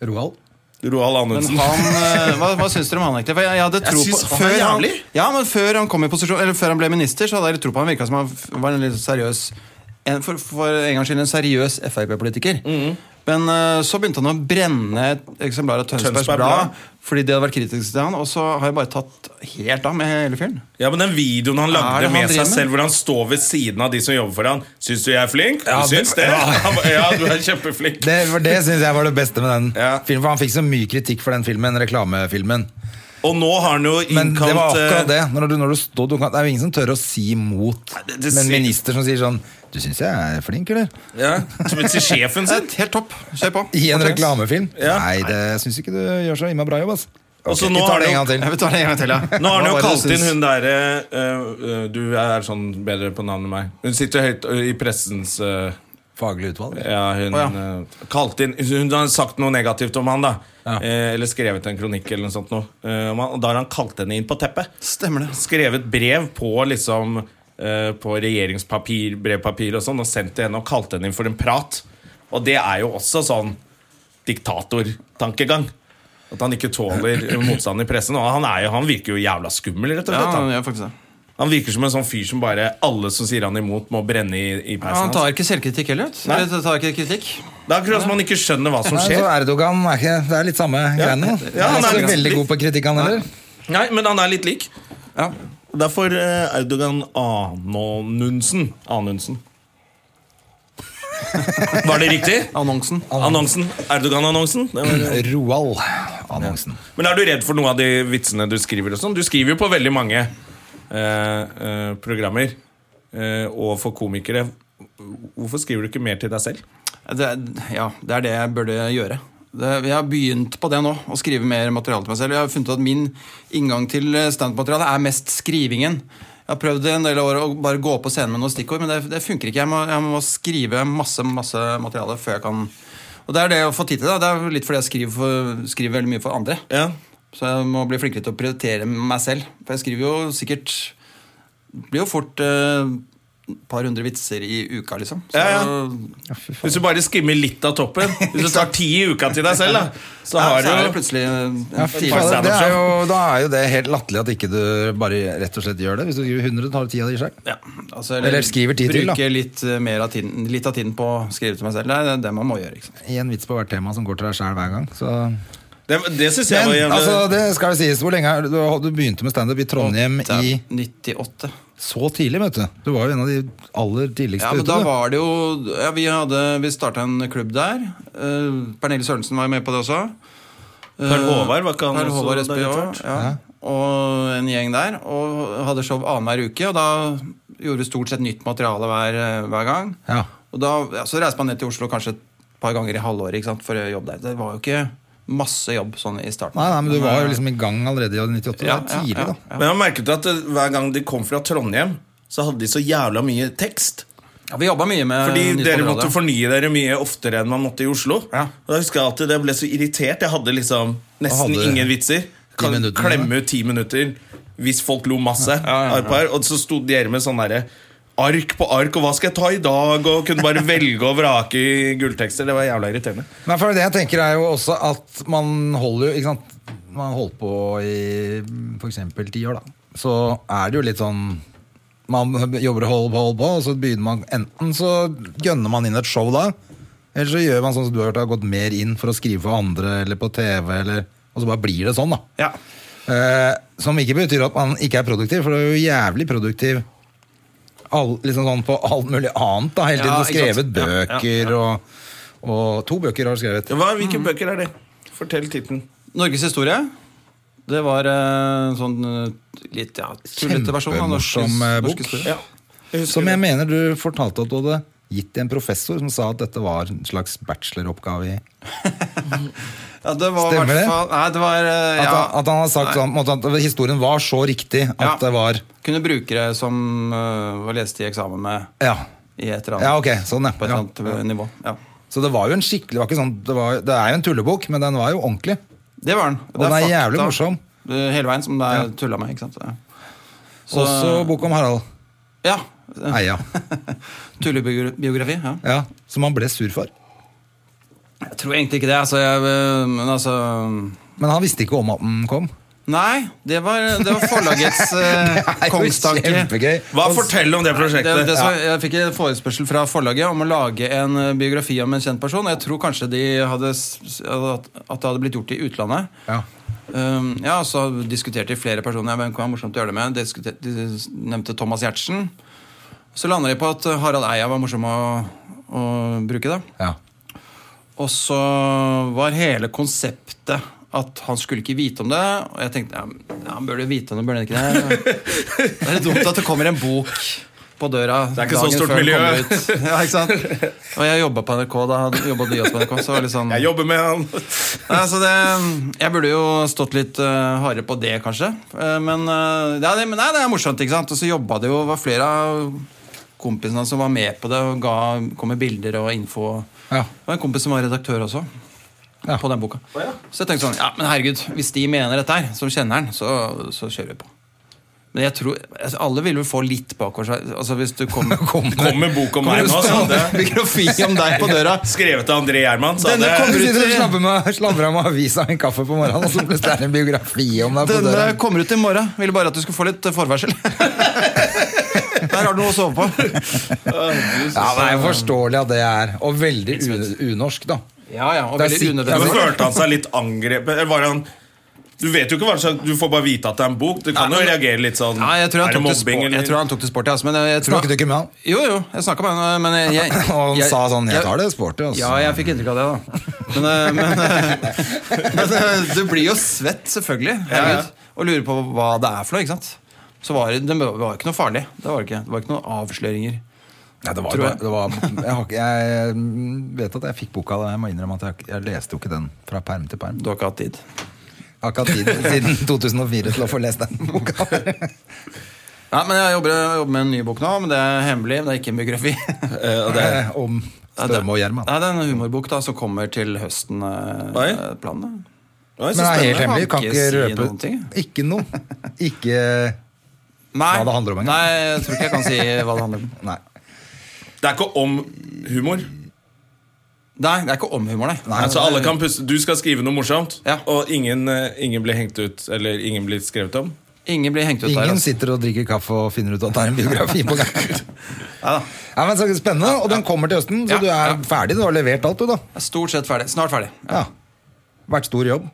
S2: Roald?
S1: Roald
S4: Men
S1: Anundsen.
S4: han, eh, hva, hva syns dere om han egentlig? For jeg, jeg hadde tro
S1: syns han
S4: på
S1: er
S4: før han,
S1: jævlig.
S4: ja, men før han kom i posisjon Eller før han ble minister, så hadde jeg litt tro på han. Virka som han f- var en litt seriøs en, for, for en gangs skyld en seriøs Frp-politiker.
S1: Mhm.
S4: Men eh, så begynte han å brenne et eksemplar av Tønsbergs
S1: Tønsberg Blad.
S4: Blad fordi de hadde vært kritiske til han, og så har jeg bare tatt helt av med hele fyren.
S1: Ja, men Den videoen han
S4: Er
S1: lagde
S4: det han
S1: med seg
S4: driver med?
S1: selv, hvor han står ved siden av de som jobber for han Syns du jeg er flink?
S2: Ja,
S1: du syns
S2: det-
S1: det?
S2: ja.
S1: Han ba, Ja, du er kjempeflink.
S2: Det, var- det syns jeg var det beste med den
S1: Ja.
S2: filmen. For han fikk så mye kritikk for den filmen, reklamefilmen.
S1: Og nå har han jo
S2: Men det var
S1: innkalt
S2: akkurat
S1: eh,
S2: det. Når du, når du står, du kan, det er jo ingen som tør å si imot.
S1: Nei, det- det
S2: Men en
S1: sier-
S2: minister som sier sånn Du syns jeg er flink, eller?
S1: ja, som til sjefen
S4: Det
S1: sin.
S4: er Helt topp. Kjør på.
S2: I en reklamefilm?
S1: Ja.
S2: Nei, det syns ikke du gjør så innmari bra jobb, ass.
S1: Og så
S2: Ok,
S1: nå
S2: vi
S1: har
S2: tar det en
S1: han
S2: gang til.
S4: Jeg vil ta det en gang til, ja.
S1: Nå har han jo
S4: Hva var det
S1: kalt
S4: du
S1: inn
S4: syns?
S1: hun derre eh, eh, Du er sånn bedre på navnet enn meg. Hun sitter høyt eh, i pressens eh,
S2: Faglig utvalg.
S1: Ja, hun
S4: Å, ja.
S1: eh, kalt inn Hun har sagt noe negativt om han, da.
S2: Ja.
S1: Eh, eller skrevet en kronikk eller noe sånt. Noe. Eh, om han- og da har han kalt henne inn på teppet.
S4: Stemmer det.
S1: Skrevet brev på liksom eh, På regjeringspapir, brevpapir og sånn, og sendt til henne og kalt henne inn for en prat. Og det er jo også sånn diktatortankegang. At han ikke tåler motstand i pressen. Og han, er jo, han virker jo jævla skummel, rett og
S4: Ja,
S1: slett. da.
S4: han gjør faktisk det.
S1: Han virker som en sånn fyr som bare alle som sier han imot, må brenne i, i
S4: Ja, han
S1: peisen.
S4: tar
S1: hans.
S4: ikke selvkritikk heller. vet du.
S1: Nei.
S4: Eller tar ikke kritikk.
S1: Det er akkurat som han ikke skjønner hva som
S2: Nei, så
S4: altså-
S1: skjer.
S2: Erdogan er ikke Det er litt samme greiene. da.
S1: Ja,
S2: han
S1: han
S2: er
S1: er
S2: ikke så veldig
S1: ganske-
S2: god på kritikk, han heller.
S1: Nei, Men han er litt lik.
S4: Ja.
S1: Derfor eh, Erdogan Anonunsen. Anundsen. Var det riktig?
S4: Annonsen.
S1: Annonsen. Erdogan-annonsen. Det var-
S2: Roald Annonsen.
S1: Men er du redd for noe av de vitsene du skriver? og sånn? Du skriver jo på veldig mange eh, eh, programmer. Eh, og for komikere. Hvorfor skriver du ikke mer til deg selv?
S4: Det, er- ja, det er det jeg burde gjøre. Det, jeg har begynt på det nå, å skrive mer materiale til meg selv. Jeg har funnet ut at min inngang til standup-materiale er mest skrivingen. Jeg har prøvd i en del år å bare gå på scenen med noen stikkord, men det, det funker ikke. Jeg må, jeg må skrive masse masse materiale før jeg kan Og det er det å få tid til. Da. Det er jo litt fordi jeg skriver, for, skriver veldig mye for andre.
S1: Ja,
S4: Så jeg må bli flinkere til å prioritere meg selv. For jeg skriver jo sikkert Blir jo fort eh, et par hundre vitser i uka, liksom. Så,
S1: Ja, ja. Hvis du bare skimmer litt av toppen Hvis du tar ti i uka til deg selv da, Så
S4: Ja,
S1: har
S4: så er det
S1: du
S4: plutselig eh,
S2: Ja,
S4: en
S2: fy
S4: time.
S2: fader, det er
S1: standup-show.
S2: jo, da er jo det helt latterlig at ikke du bare rett og slett gjør det. Hvis du skriver 100, tar du 10 av de selv.
S4: Ja, altså,
S2: Eller skriver ti til, da.
S4: Bruker litt, eh, mer av tiden, litt av tiden på å skrive til meg selv. Det er det man må gjøre. ikke sant?
S2: Én vits på hvert tema som går til deg selv hver gang. Så.
S1: Det, det synes jeg var
S2: Men
S1: jævlig
S2: altså, det skal jo sies, hvor lenge er det- du, du begynte med standup i Trondheim
S4: Det er
S2: i
S4: 98.
S2: Så tidlig, vet du. Du var jo en av de aller tidligste
S4: Ja, men
S2: ute,
S4: da
S2: du.
S4: var det jo ja, Vi, hadde- vi starta en klubb der. Eh, Pernille Sørensen var jo med på det også. Eh,
S1: Per Håvard var ikke han
S4: Per
S1: også
S4: Håvard
S1: der
S4: SBH,
S1: etter hvert?
S4: ja. Og en gjeng der. Og hadde show annenhver uke. Og da gjorde vi stort sett nytt materiale hver, hver gang.
S2: Ja.
S4: Og da, ja, så reiste man ned til Oslo kanskje et par ganger i halvåret ikke sant, for å jobbe der. Det var jo ikke masse jobb sånn i starten.
S2: Nei, nei, men du var jo liksom i gang allerede i 98. Det
S4: Ja,
S2: var tidlig,
S4: ja, ja.
S2: da.
S1: Men jeg har merket at eh, hver gang de kom fra Trondheim, så hadde de så jævla mye tekst.
S2: liksom-
S4: Ja, vi jobba mye med
S1: Fordi
S4: Eh, nytt
S1: dere
S4: materiale.
S1: måtte fornye dere mye oftere enn man måtte i Oslo.
S4: Ja.
S1: Og da husker jeg alltid det ble så irritert. Jeg hadde liksom nesten
S2: Hadde
S1: ingen vitser. Kan
S2: minutter, ja.
S1: klemme ut ti minutter hvis folk lo masse.
S4: ja, ja.
S1: av et par. Og så sto dere med sånn derre Ark på ark, og hva skal jeg ta i dag? Og kunne bare velge og vrake i gulltekster. Det var jævla irriterende.
S2: Nei, for det jeg tenker er jo også at man holder jo ikke sant? Man har holdt på i f.eks. ti år, da. Så er det jo litt sånn Man jobber og holder på, holder på, og så begynner man Enten så gønner man inn et show da, eller så gjør man sånn som du har gjort, har gått mer inn for å skrive for andre eller på TV, eller Og så bare blir det sånn, da.
S4: Ja.
S2: Eh, som ikke betyr at man ikke er produktiv, for du er jo jævlig produktiv all, liksom sånn på alt mulig annet. da, Hele tiden
S4: Ja,
S2: Du har skrevet
S4: ikke sant? Ja,
S2: bøker Og, og To bøker har du skrevet.
S1: Det var, hvilke bøker er det? Fortell tittelen.
S4: Norges historie. Det var eh, en sånn eh, litt ja, tullete versjon av norsk,
S2: Kjempemorsom, eh, bok.
S4: norsk historie.
S1: Jeg husker
S2: Som jeg
S1: det.
S2: mener du fortalte at du hadde gitt til en professor som sa at dette var en slags bacheloroppgave i
S4: Ja, det var i
S2: Stemmer
S4: hvert
S2: det?
S4: fall- Nei, det var eh,
S2: At,
S4: ja.
S2: han, at han har sagt
S4: Nei.
S2: sånn på en måte at historien var så riktig at
S4: Ja.
S2: det var
S4: Kunne brukere som øh, var leste i eksamen med
S2: Ja.
S4: i et eller annet.
S2: ja, ok. Sånn,
S4: På et
S2: ja.
S4: eller annet øh, nivå. Ja.
S2: Så det var jo en skikkelig det var ikke sånn, det, var, det er jo en tullebok, men den var jo ordentlig.
S4: Det var den.
S2: Og den er jævlig morsom.
S4: øh, Hele veien, som det er
S2: Ja.
S4: tulla med. ikke sant? Ja. Så-
S2: Også bok om Harald
S4: Ja.
S2: Eia.
S4: Tullebiografi. Ja.
S2: Ja, som han ble sur for.
S4: Jeg tror egentlig ikke det. altså, jeg, øh, Men altså
S2: Men han visste ikke om at den kom.
S4: Nei, det var, det var forlagets øh,
S2: Det er jo
S4: kongstanke.
S2: Kjempegøy.
S1: Hva fortell om det
S4: Det,
S1: prosjektet?
S4: det som, jeg fikk en forespørsel fra forlaget om å lage en eh, biografi om en kjent person. og Jeg tror kanskje de hadde, s- at at det hadde blitt gjort i utlandet.
S2: Ja.
S4: Um, ja, så diskuterte de flere personer. Hvem kan være morsomt å gjøre det med? De, diskuter- de nevnte Thomas Giertsen. Så landa de på at Harald Eia var morsom å, å bruke. da.
S2: Ja.
S4: Og så var hele konseptet at han skulle ikke vite om det. Og jeg tenkte ja, men han burde jo vite om det, burde han ikke det? Det er litt dumt at det kommer en bok på døra
S1: er ikke så stort miljø.
S4: Ja, ikke sant? Og jeg jobba på NRK da. Jobba de også på NRK, så var det litt sånn
S1: Jeg jobber med han.
S4: Nei, altså det, jeg burde jo stått litt eh, hardere på det, kanskje. Eh, men, eh, ja, det, men nei, det er morsomt, ikke sant? Og så jobba det jo var flere av kompisene som var med på det og ga, kom med bilder og info.
S2: Ja.
S4: Det var en kompis som var redaktør også.
S2: Ja.
S4: På den boka. Så jeg tenkte sånn, ja, men herregud, hvis de mener dette her, som kjenner den, så, så kjører vi på. Men jeg tror, altså, alle vil vel få litt bakover seg. Altså, hvis du kommer
S2: Kom.
S1: Kom med bok om meg nå,
S4: Kommer
S1: så
S2: sånn,
S4: du
S1: hadde
S4: med biografi om deg på døra.
S1: skrevet av André Gjerman. så
S4: Denne
S1: hadde-
S4: kommer
S2: Du sitter og
S4: til-
S2: slabber med- slabber av med avisa og en kaffe på morgenen, og så plutselig er det en biografi om deg på døra.
S4: Den kommer ut i morgen. Ville bare at du skulle få litt eh, forvarsel. Der har du noe å sove på.
S2: Ja, men Det er jo forståelig at det er, og veldig u- unorsk, da.
S4: Ja, ja, og
S2: Det er
S4: veldig
S2: sikkert-
S1: Men
S4: unødvendig.
S1: følte han seg litt angrepet? Eller var han du vet jo ikke hva slags Du får bare vite at det er en bok. Du kan
S4: Nei,
S1: jo
S4: men-
S1: reagere litt sånn
S4: Nei, jeg tror han
S1: Er det
S4: tok til
S1: mobbing,
S4: sport, jeg tror
S1: eller?
S4: han tok til sport ja, altså, men jeg, jeg tror
S2: Snakket du ikke med han?
S4: Jo, jo, jeg snakka med han, eh, men jeg, jeg,
S2: Og han
S4: jeg-
S2: sa sånn 'Jeg tar det sporty', altså.
S4: Ja, jeg fikk inntrykk av det, da. Men, eh, men, eh, men eh, du blir jo svett, selvfølgelig. Herregud, og lurer på hva det er for noe. ikke sant? Så var det, det var ikke noe farlig. Det var det ikke, det var ikke noen avsløringer.
S2: Nei, det var,
S4: Tror jeg.
S2: det var, jeg, har, ikke- jeg mm, vet at jeg fikk boka da. Jeg må innrømme at jeg, har ikke- jeg leste jo ikke den fra perm til perm.
S4: Du har ikke hatt tid.
S2: Jeg har ikke hatt tid siden 2004 til å få lest den boka.
S4: Ja, men jeg jobber, jeg jobber med en ny bok nå, men det er hemmelig. Men det er ikke en biografi.
S2: Eh, Om Støme og Gjerman.
S4: Nei, det er en humorbok da som kommer til høsten. eh,
S1: Oi.
S4: eh, Planen.
S1: Oi,
S2: Men
S1: så
S2: det er helt
S1: spennende.
S2: hemmelig. Kan
S4: Kan
S2: ikke
S4: ikke si
S2: røpe
S4: noen ting.
S2: Ikke noe. Ikke
S4: Nei,
S2: Hva det handler om, egentlig.
S4: Nei, jeg tror ikke jeg kan si hva det handler om.
S2: Nei.
S1: Det er ikke om humor.
S4: Nei, det er ikke om humor, nei.
S1: altså alle kan puste Du skal skrive noe morsomt,
S4: Ja.
S1: og ingen, eh, ingen blir hengt ut eller ingen blir skrevet om.
S4: Ingen blir hengt ut der.
S2: Ingen
S4: Altså.
S2: sitter og drikker kaffe og finner ut at det er en biografi på gang.
S4: Neida.
S2: Ja, men så Spennende. Og den kommer til høsten, så
S4: Ja,
S2: du
S4: ja.
S2: er ferdig. Du har levert alt, du, da.
S4: Jeg er Stort sett ferdig. Snart ferdig.
S2: Ja. Vært stor jobb.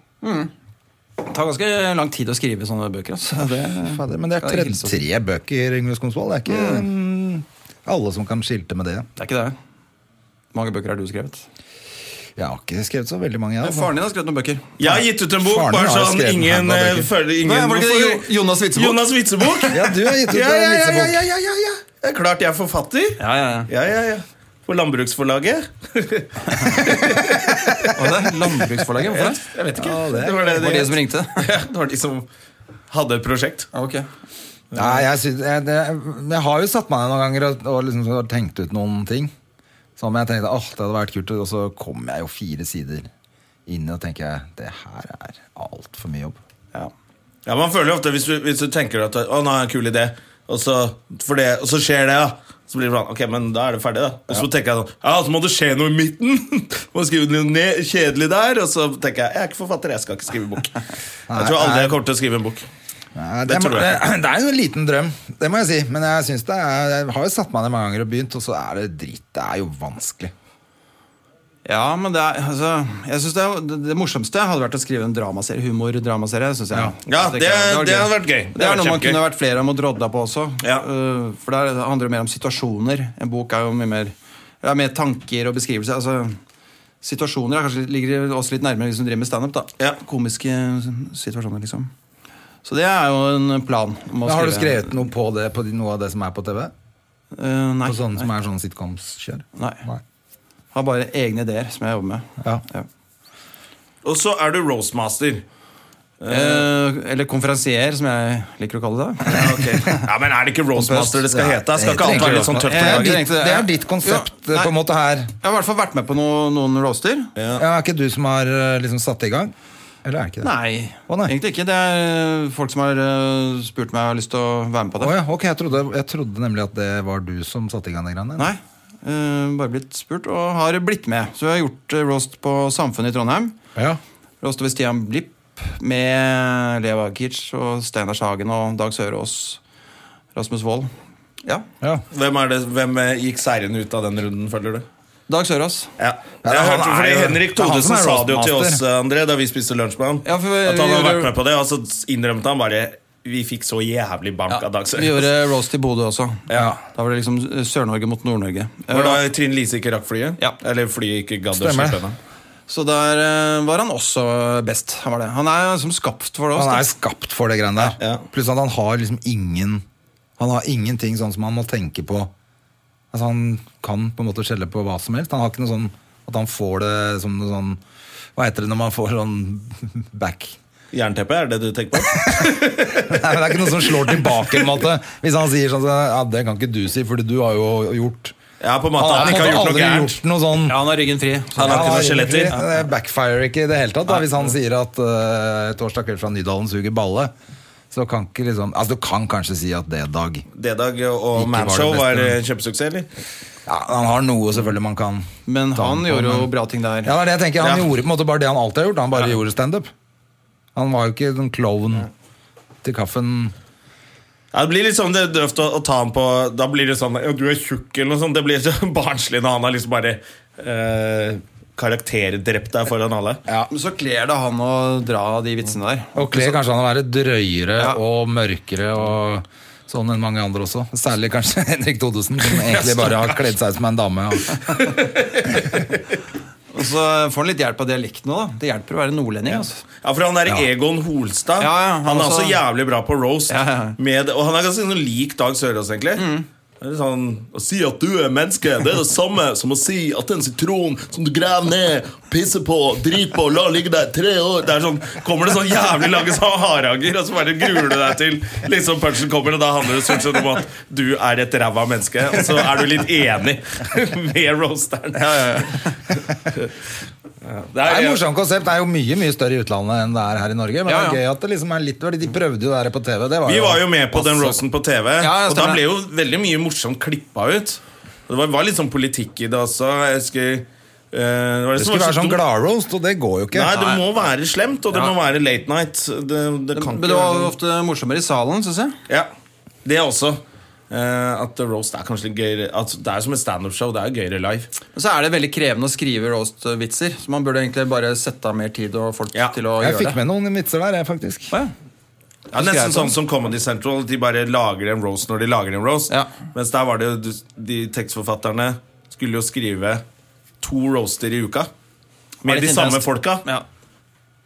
S4: Det tar ganske lang tid å skrive sånne bøker. Altså. Det,
S2: Fader, men det er
S4: Skal jeg
S2: tre,
S4: hilse opp?
S2: tre bøker, Yngve Skonsvold. Det er ikke mm, alle som kan skilte med det.
S4: det er ikke det. Hvor mange bøker har du skrevet?
S2: Jeg har ikke skrevet så veldig mange. Jeg, altså.
S4: Faren din har skrevet noen bøker.
S1: Jeg har gitt ut en bok,
S2: Faren
S1: bare
S2: har
S1: sånn
S2: skrevet
S1: ingen,
S2: den her,
S1: eh,
S2: Bakke.
S1: føler ingen
S4: Nei, var det ikke det? Jo- Jonas Witzebok?
S1: Jonas Witzebok?
S2: Ja, du har gitt ut
S1: ja,
S2: en
S1: ja, ja,
S2: vitsebok.
S1: ja, ja, ja, ja. Det er klart jeg er forfatter.
S4: Ja, ja, ja.
S1: Ja, ja, ja. På Landbruksforlaget.
S4: Og det er Landbruksforlaget? Hvorfor det?
S1: Jeg vet ikke.
S2: Ja, det-
S1: det var det,
S4: Det var de som ringte.
S1: ja, det var de som hadde et prosjekt.
S4: Ja, ok.
S2: Nei, jeg, synes, jeg, det, jeg har jo satt meg ned noen ganger og, og liksom har tenkt ut noen ting. Som jeg tenkte åh, det hadde vært kult, og så kom jeg jo fire sider inn og tenker jeg, det her er altfor mye jobb.
S4: Ja.
S1: Ja, Man føler jo ofte hvis du, hvis du tenker at å, nå har jeg en kul idé, og så, for det, og så skjer det, ja. Så blir det sånn, ok, men da er det ferdig, da. Og så tenker jeg sånn, ja, så må det skje noe i midten. må skrive noe ned, kjedelig der. Og så tenker jeg jeg er ikke forfatter, jeg skal ikke skrive bok. Jeg tror aldri jeg kommer til å skrive en bok.
S2: Nei,
S1: Det
S2: det,
S1: tror jeg.
S2: det, det er jo en liten drøm, det må jeg si. Men jeg, synes det er, jeg har jo satt meg ned mange ganger og begynt, og så er det dritt. Det er jo vanskelig.
S4: Ja, men det er altså, jeg synes det, er- det, det morsomste hadde vært å skrive en dramaserie. Humor-dramaserie. synes jeg.
S1: Ja,
S4: Jeg tenker
S1: det-
S4: var
S1: det hadde vært gøy. Det
S4: Det,
S1: hadde
S4: er
S1: vært
S4: noe man
S1: kjempegøy.
S4: kunne vært flere om og drodda på også.
S1: Ja.
S4: Eh, for der handler det mer om situasjoner. En bok er jo mye mer Det er mer tanker og beskrivelser. Altså, situasjoner er kanskje, litt- ligger oss litt nærmere, vi som driver med standup. da.
S1: Ja.
S4: Komiske situasjoner, liksom. Så det er jo en plan. om å
S2: Men har du
S4: skrive-
S2: skrevet noe på det, på de- noe av det som er på TV?
S4: Eh, nei.
S2: På sånne som
S4: nei.
S2: er sånn sitcoms-kjør?
S4: Nei. Har bare egne ideer som jeg jobber med.
S2: Ja.
S1: Og så er du roastmaster.
S4: Eh, eller konferansier, som jeg liker å kalle det.
S1: Ja, ok. ja, men er det ikke roastmaster det skal
S2: Nei,
S1: hete? Skal
S2: det
S1: ikke alt
S2: trenger
S1: være
S2: du
S1: litt sånn
S2: ikke.
S1: tøft om
S4: Jeg
S1: dagen?
S4: trengte det.
S2: Det er jo ditt konsept
S4: Ja, nei.
S2: på en måte her.
S4: Jeg har i hvert fall vært med på noen, noen roaster.
S2: Ja, Er ikke du som har eh, liksom satt det i gang? Eller er det ikke det?
S4: Nei,
S2: Å, nei.
S4: egentlig ikke. Det er eh, folk som har eh, spurt meg og har lyst til å være med på
S2: Å
S4: det.
S2: ja, ok, jeg trodde, jeg trodde nemlig at det var du som satte i gang de greiene.
S4: Nei, eh, bare blitt spurt og har blitt med. Så jeg har gjort eh, roast på Samfunnet i Trondheim.
S2: Ja.
S4: Roast over Stian Blipp med Leo Ajkic og Steinar Sagen og Dag Sørås. Rasmus Wold. Ja.
S2: Ja.
S1: Hvem, er det, hvem eh, gikk seirende ut av den runden, føler du?
S4: Dag Sørås.
S1: Ja.
S2: Ja,
S1: jeg
S2: han
S1: hørte,
S2: er
S1: fordi
S2: jo-
S1: Henrik
S2: det er han som
S1: Thodesen
S2: er
S1: sa det jo til oss
S2: roastmaster.
S1: eh, André, da vi spiste lunsj med ham.
S4: Ja, for vi-
S1: at han
S4: vi
S1: hadde
S4: gjorde-
S1: vært med på det, og så innrømte han bare Vi fikk så jævlig bank av Dag
S4: Vi
S1: Sørås.
S4: gjorde roast i Bodø også.
S1: Ja.
S4: Da var det liksom Sør-Norge mot Nord-Norge. Eh,
S1: Var da Trine Lise ikke rakk flyet?
S4: Ja.
S1: Eller flyet ikke gadd å
S2: Stemmer.
S1: slippe henne?
S4: Så der eh, var han også best. Han, var det. han er som skapt for det
S2: Han
S4: også.
S2: er skapt for det greiene der.
S1: Ja.
S2: Pluss at han har liksom ingen Han har ingenting sånn som han må tenke på. Altså Han kan på en måte skjelle på hva som helst. Han har ikke noe sånn at han får det som noe sånn Hva heter det når man får sånn back?
S1: Jernteppe, er det det du tenker på?
S2: Nei, men Det er ikke noe som slår tilbake. på en måte Hvis han sier sånn så, Ja, det kan ikke du si, Fordi du har jo gjort
S1: Ja, på en måte. Han
S2: på en
S1: ikke
S2: måte
S1: har gjort noe
S2: aldri
S1: gærent.
S2: gjort noe sånn
S4: Ja, han har ryggen fri. Så
S1: Han har ikke
S2: Ja,
S1: noe
S2: det er
S1: skjeletter.
S2: riktig. Det backfirer ikke i det hele tatt. Da. Hvis han sier at eh, 'Torsdag kveld fra Nydalen suger balle', så kan ikke liksom Altså, du kan kanskje si at det er dag.
S1: D-Dag
S2: var
S1: og
S2: det
S1: Manshow
S2: beste,
S1: var eh,
S2: men-
S1: kjempesuksess, eller?
S2: Ja, han har noe selvfølgelig man kan
S4: Men
S2: ta
S4: han
S2: på,
S4: gjorde jo
S2: men-
S4: bra ting der.
S2: Ja, det er det jeg tenker. Han
S1: Ja.
S2: gjorde på en måte bare det han alltid har gjort. Han bare gjorde standup. Han var jo ikke en klovn til kaffen.
S1: Ja, det blir litt sånn det er døvt å, å ta han på Da blir det sånn ja, 'du er tjukk' eller noe sånt. Det blir så barnslig når han har liksom bare eh, karakterdrept deg foran alle.
S4: Men så kler det han å dra de vitsene der.
S2: Og kler kanskje han å være drøyere
S4: Ja.
S2: og mørkere og sånn enn mange andre også. Særlig kanskje Henrik Thodesen, som egentlig bare
S1: sånn.
S2: har kledd seg ut som en dame. Og
S4: Og så får han litt hjelp av dialekten òg, da. Det hjelper å være nordlending. Altså.
S1: Ja, for han der Egon Holstad
S4: Ja, ja,
S1: han,
S4: han
S1: er også
S4: også-
S1: jævlig bra på roast.
S4: Ja, ja.
S1: Med, og han er ganske sånn lik Dag Sørås, egentlig. Det er sånn, Å si at du er menneske, det er det samme som å si at en sitron som du graver ned, pisser på, driter på, lar ligge der i tre år Det er sånn, Kommer det sånn jævlig lange sånn haranger, og så bare gruer du deg til liksom punchen kommer, og da handler det stort sett om at du er et ræva menneske, og så er du litt enig med roasteren. Det
S2: Det
S1: er,
S2: er et morsomt konsept. Det er jo mye mye større i utlandet enn det er her i Norge. Men
S4: Ja, ja.
S2: det er gøy at det liksom er litt fordi De prøvde jo det her på TV. Det var
S1: Vi
S2: jo,
S1: var jo med på den roasten på TV,
S4: ja,
S1: og da
S4: stemmer
S1: ble
S4: det.
S1: jo veldig mye morsomt klippa ut. Og Det var, var litt sånn politikk i det også. Jeg husker eh, det var
S2: Det
S1: det som
S2: skulle være
S1: var så
S2: sånn
S1: dumt.
S2: gladroast, og det går jo ikke.
S1: Nei, det må være slemt, og det
S4: Ja.
S1: må være late night. Det, det kan
S4: Men
S1: ikke
S4: det var
S1: være sånn.
S4: ofte morsommere i salen, syns jeg.
S1: Ja, det også. eh, at roast er kanskje litt gøyere at Det er som et standup-show. Det er gøyere live.
S4: Og så er det veldig krevende å skrive roast-vitser, så man burde egentlig bare sette av mer tid og folk
S1: Ja,
S4: til å
S2: Jeg
S4: gjøre
S2: fikk
S4: det.
S2: med noen vitser der, jeg, faktisk.
S4: Å, ja.
S1: Ja, Nesten sånn som Comedy Central. De bare lager en roast når de lager en roast.
S4: Ja.
S1: Mens der var det jo de tekstforfatterne skulle jo skrive to roaster i uka. Med
S4: Litt
S1: de samme
S4: intenst.
S1: folka.
S4: Ja.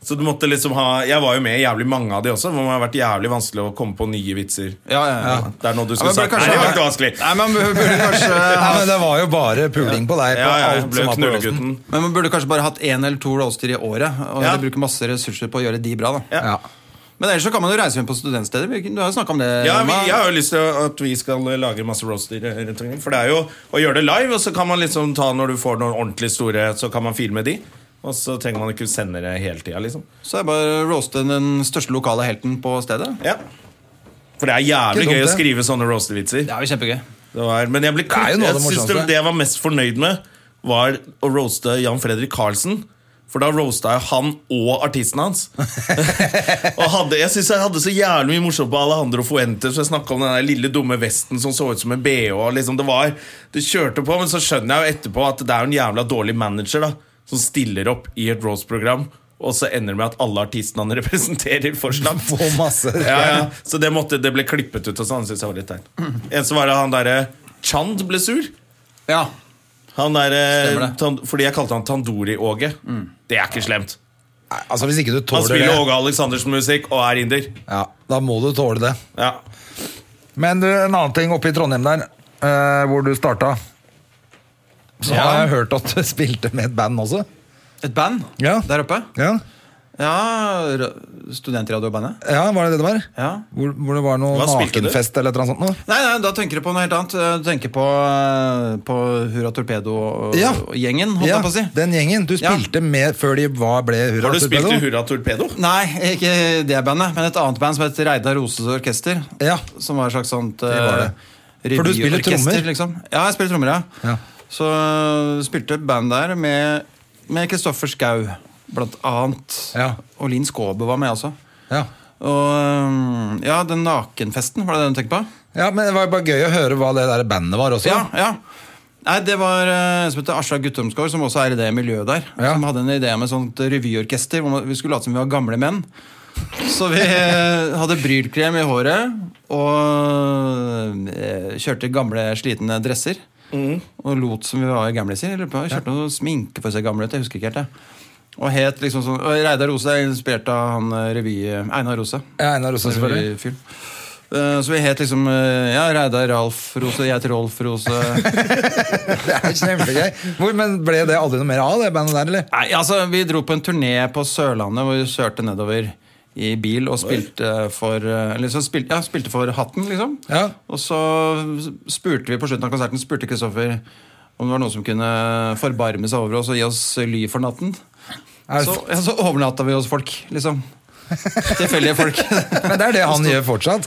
S1: Så du måtte liksom ha Jeg var jo med i jævlig mange av de også, hvor det har vært jævlig vanskelig å komme på nye vitser.
S4: Ja, ja, ja.
S1: Det er noe du
S4: Ja,
S1: skulle
S4: men
S1: sagt.
S4: burde
S1: Nei,
S4: kanskje-
S1: det var ikke vanskelig.
S4: Nei, man burde, burde kanskje
S2: Nei, men det var jo bare puling på deg. På
S1: Ja, ja, jeg
S2: alt
S1: ble
S2: som var på roasten.
S1: knullegutten.
S4: Men man burde kanskje bare hatt én eller to roaster i året. Og
S1: Ja.
S4: heller bruke masse ressurser på å gjøre de bra. da
S1: Ja.
S2: Ja.
S4: Men ellers så kan man jo reise rundt på studentsteder. Vi- Du har jo snakket om det.
S1: Ja, vi,
S4: Emma.
S1: jeg har jo lyst til at vi skal eh, lage masse roaster eh, rundt omkring. For det er jo å gjøre det live, og så kan man liksom ta når du får noen ordentlig store, så kan man filme de. Og så trenger man ikke sende det hele tida, liksom.
S4: Så er det bare å roaste den største lokale helten på stedet.
S1: Ja. For det er
S2: Ikke
S1: jævlig
S2: dumt,
S1: gøy å
S2: det.
S1: skrive sånne roaster-vitser.
S4: Det er jo kjempegøy.
S1: Det var, men jeg ble
S2: er jo
S1: klipp,
S2: noe av
S1: jeg
S2: det
S1: synes det,
S2: morsomste.
S1: det jeg var mest fornøyd med, var å roaste Jan Fredrik Karlsen. For da roasta jeg han og artisten hans. og hadde, jeg synes jeg hadde så jævlig mye morsomt på Alejandro Fuentes. og Jeg snakket om den der lille dumme vesten som så ut som en bh. og Liksom det var, det kjørte på, Men så skjønner jeg jo etterpå at det er jo en jævla dårlig manager da som stiller opp i et roast-program, og så ender det med at alle artistene han representerer, får slapp.
S2: Få masse.
S1: Ja, ja. Så det, måtte, det ble klippet ut og sånn. Synes jeg var litt teit. En som var det han derre Chand ble sur.
S4: Ja,
S1: Han der,
S4: Stemmer
S1: eh,
S4: det.
S1: tan, fordi jeg kalte han Tandori-Åge. Det er ikke slemt.
S2: Nei, Altså, hvis ikke du
S1: Han
S2: tåler
S1: spiller
S2: det,
S1: Åge Aleksandersen musikk og er inder.
S2: ja, da må du tåle det.
S1: Ja.
S2: Men du, en annen ting oppe i Trondheim der, eh, hvor du starta. Så
S4: Ja.
S2: har jeg hørt at du spilte med et band også.
S4: Et band
S2: Ja.
S4: der oppe.
S2: Ja,
S4: Ja, ra- Studentradiobandet.
S2: ja var det det det var?
S4: Ja.
S2: Hvor, hvor det var noe
S1: Hva spilte du?
S2: nakenfest eller et eller annet sånt? Noe?
S4: Nei, nei, da tenker du på noe helt annet. Du tenker på, eh, på Hurra
S2: Ja.
S4: Torpedo-gjengen, holdt
S2: Ja,
S4: jeg på å si.
S2: den gjengen du
S4: Ja.
S2: spilte med før de var, ble Hurra
S1: Har du spilt i
S2: Torpedo.
S1: Hurra Torpedo?
S4: Nei, ikke det bandet, men et annet band som het Reidar Roses Orkester.
S2: Ja.
S4: Som var et slags sånt
S2: var det.
S4: eh,
S2: For du spiller
S4: revyorkester,
S2: trommer?
S4: Liksom. Ja, jeg spiller trommer, ja.
S2: Ja.
S4: Så eh, spilte et band der med med Kristoffer Schau, blant annet.
S2: Ja.
S4: Og Linn Skåbe var med også.
S2: Ja.
S4: Og eh, ja, den nakenfesten, var det det du tenkte på?
S2: ja, men det var bare gøy å høre hva det der bandet var også.
S4: Ja, ja. Nei, det var eh, en som heter Asla Guttormsgaard, som også er i det miljøet der.
S2: Ja.
S4: Som hadde en idé med sånt revyorkester. hvor man- Vi skulle late som vi var gamle menn. Så vi eh, hadde brylkrem i håret og eh, kjørte gamle, slitne dresser. Og lot som vi var gamliser. Jeg lurer på, jeg Kjørte noe sminke for å se gamle ut. Jeg husker ikke helt det. Og het liksom sånn og Reidar Rose er inspirert av han eh, revy... Einar Rose.
S2: Ja, Einar Rosen, selvfølgelig.
S4: Fyr. Eh, Så vi het liksom eh, Ja, Reidar Ralf Rose, jeg heter Rolf Rose.
S2: Det er kjempegøy. Hvor, men ble det aldri noe mer av det bandet der, eller?
S4: Nei, altså, vi dro på en turné på Sørlandet hvor vi kjørte nedover i bil og spilte for eh, liksom spil, ja, spilte for Hatten, liksom.
S2: Ja.
S4: Og så spurte vi på slutten av konserten Spurte Kristoffer om det var noen som kunne forbarme seg over oss og gi oss ly for natten.
S2: Er det-
S4: Så, ja, så overnatta vi hos folk, liksom. Tilfeldige folk.
S2: Men det er det han gjør fortsatt.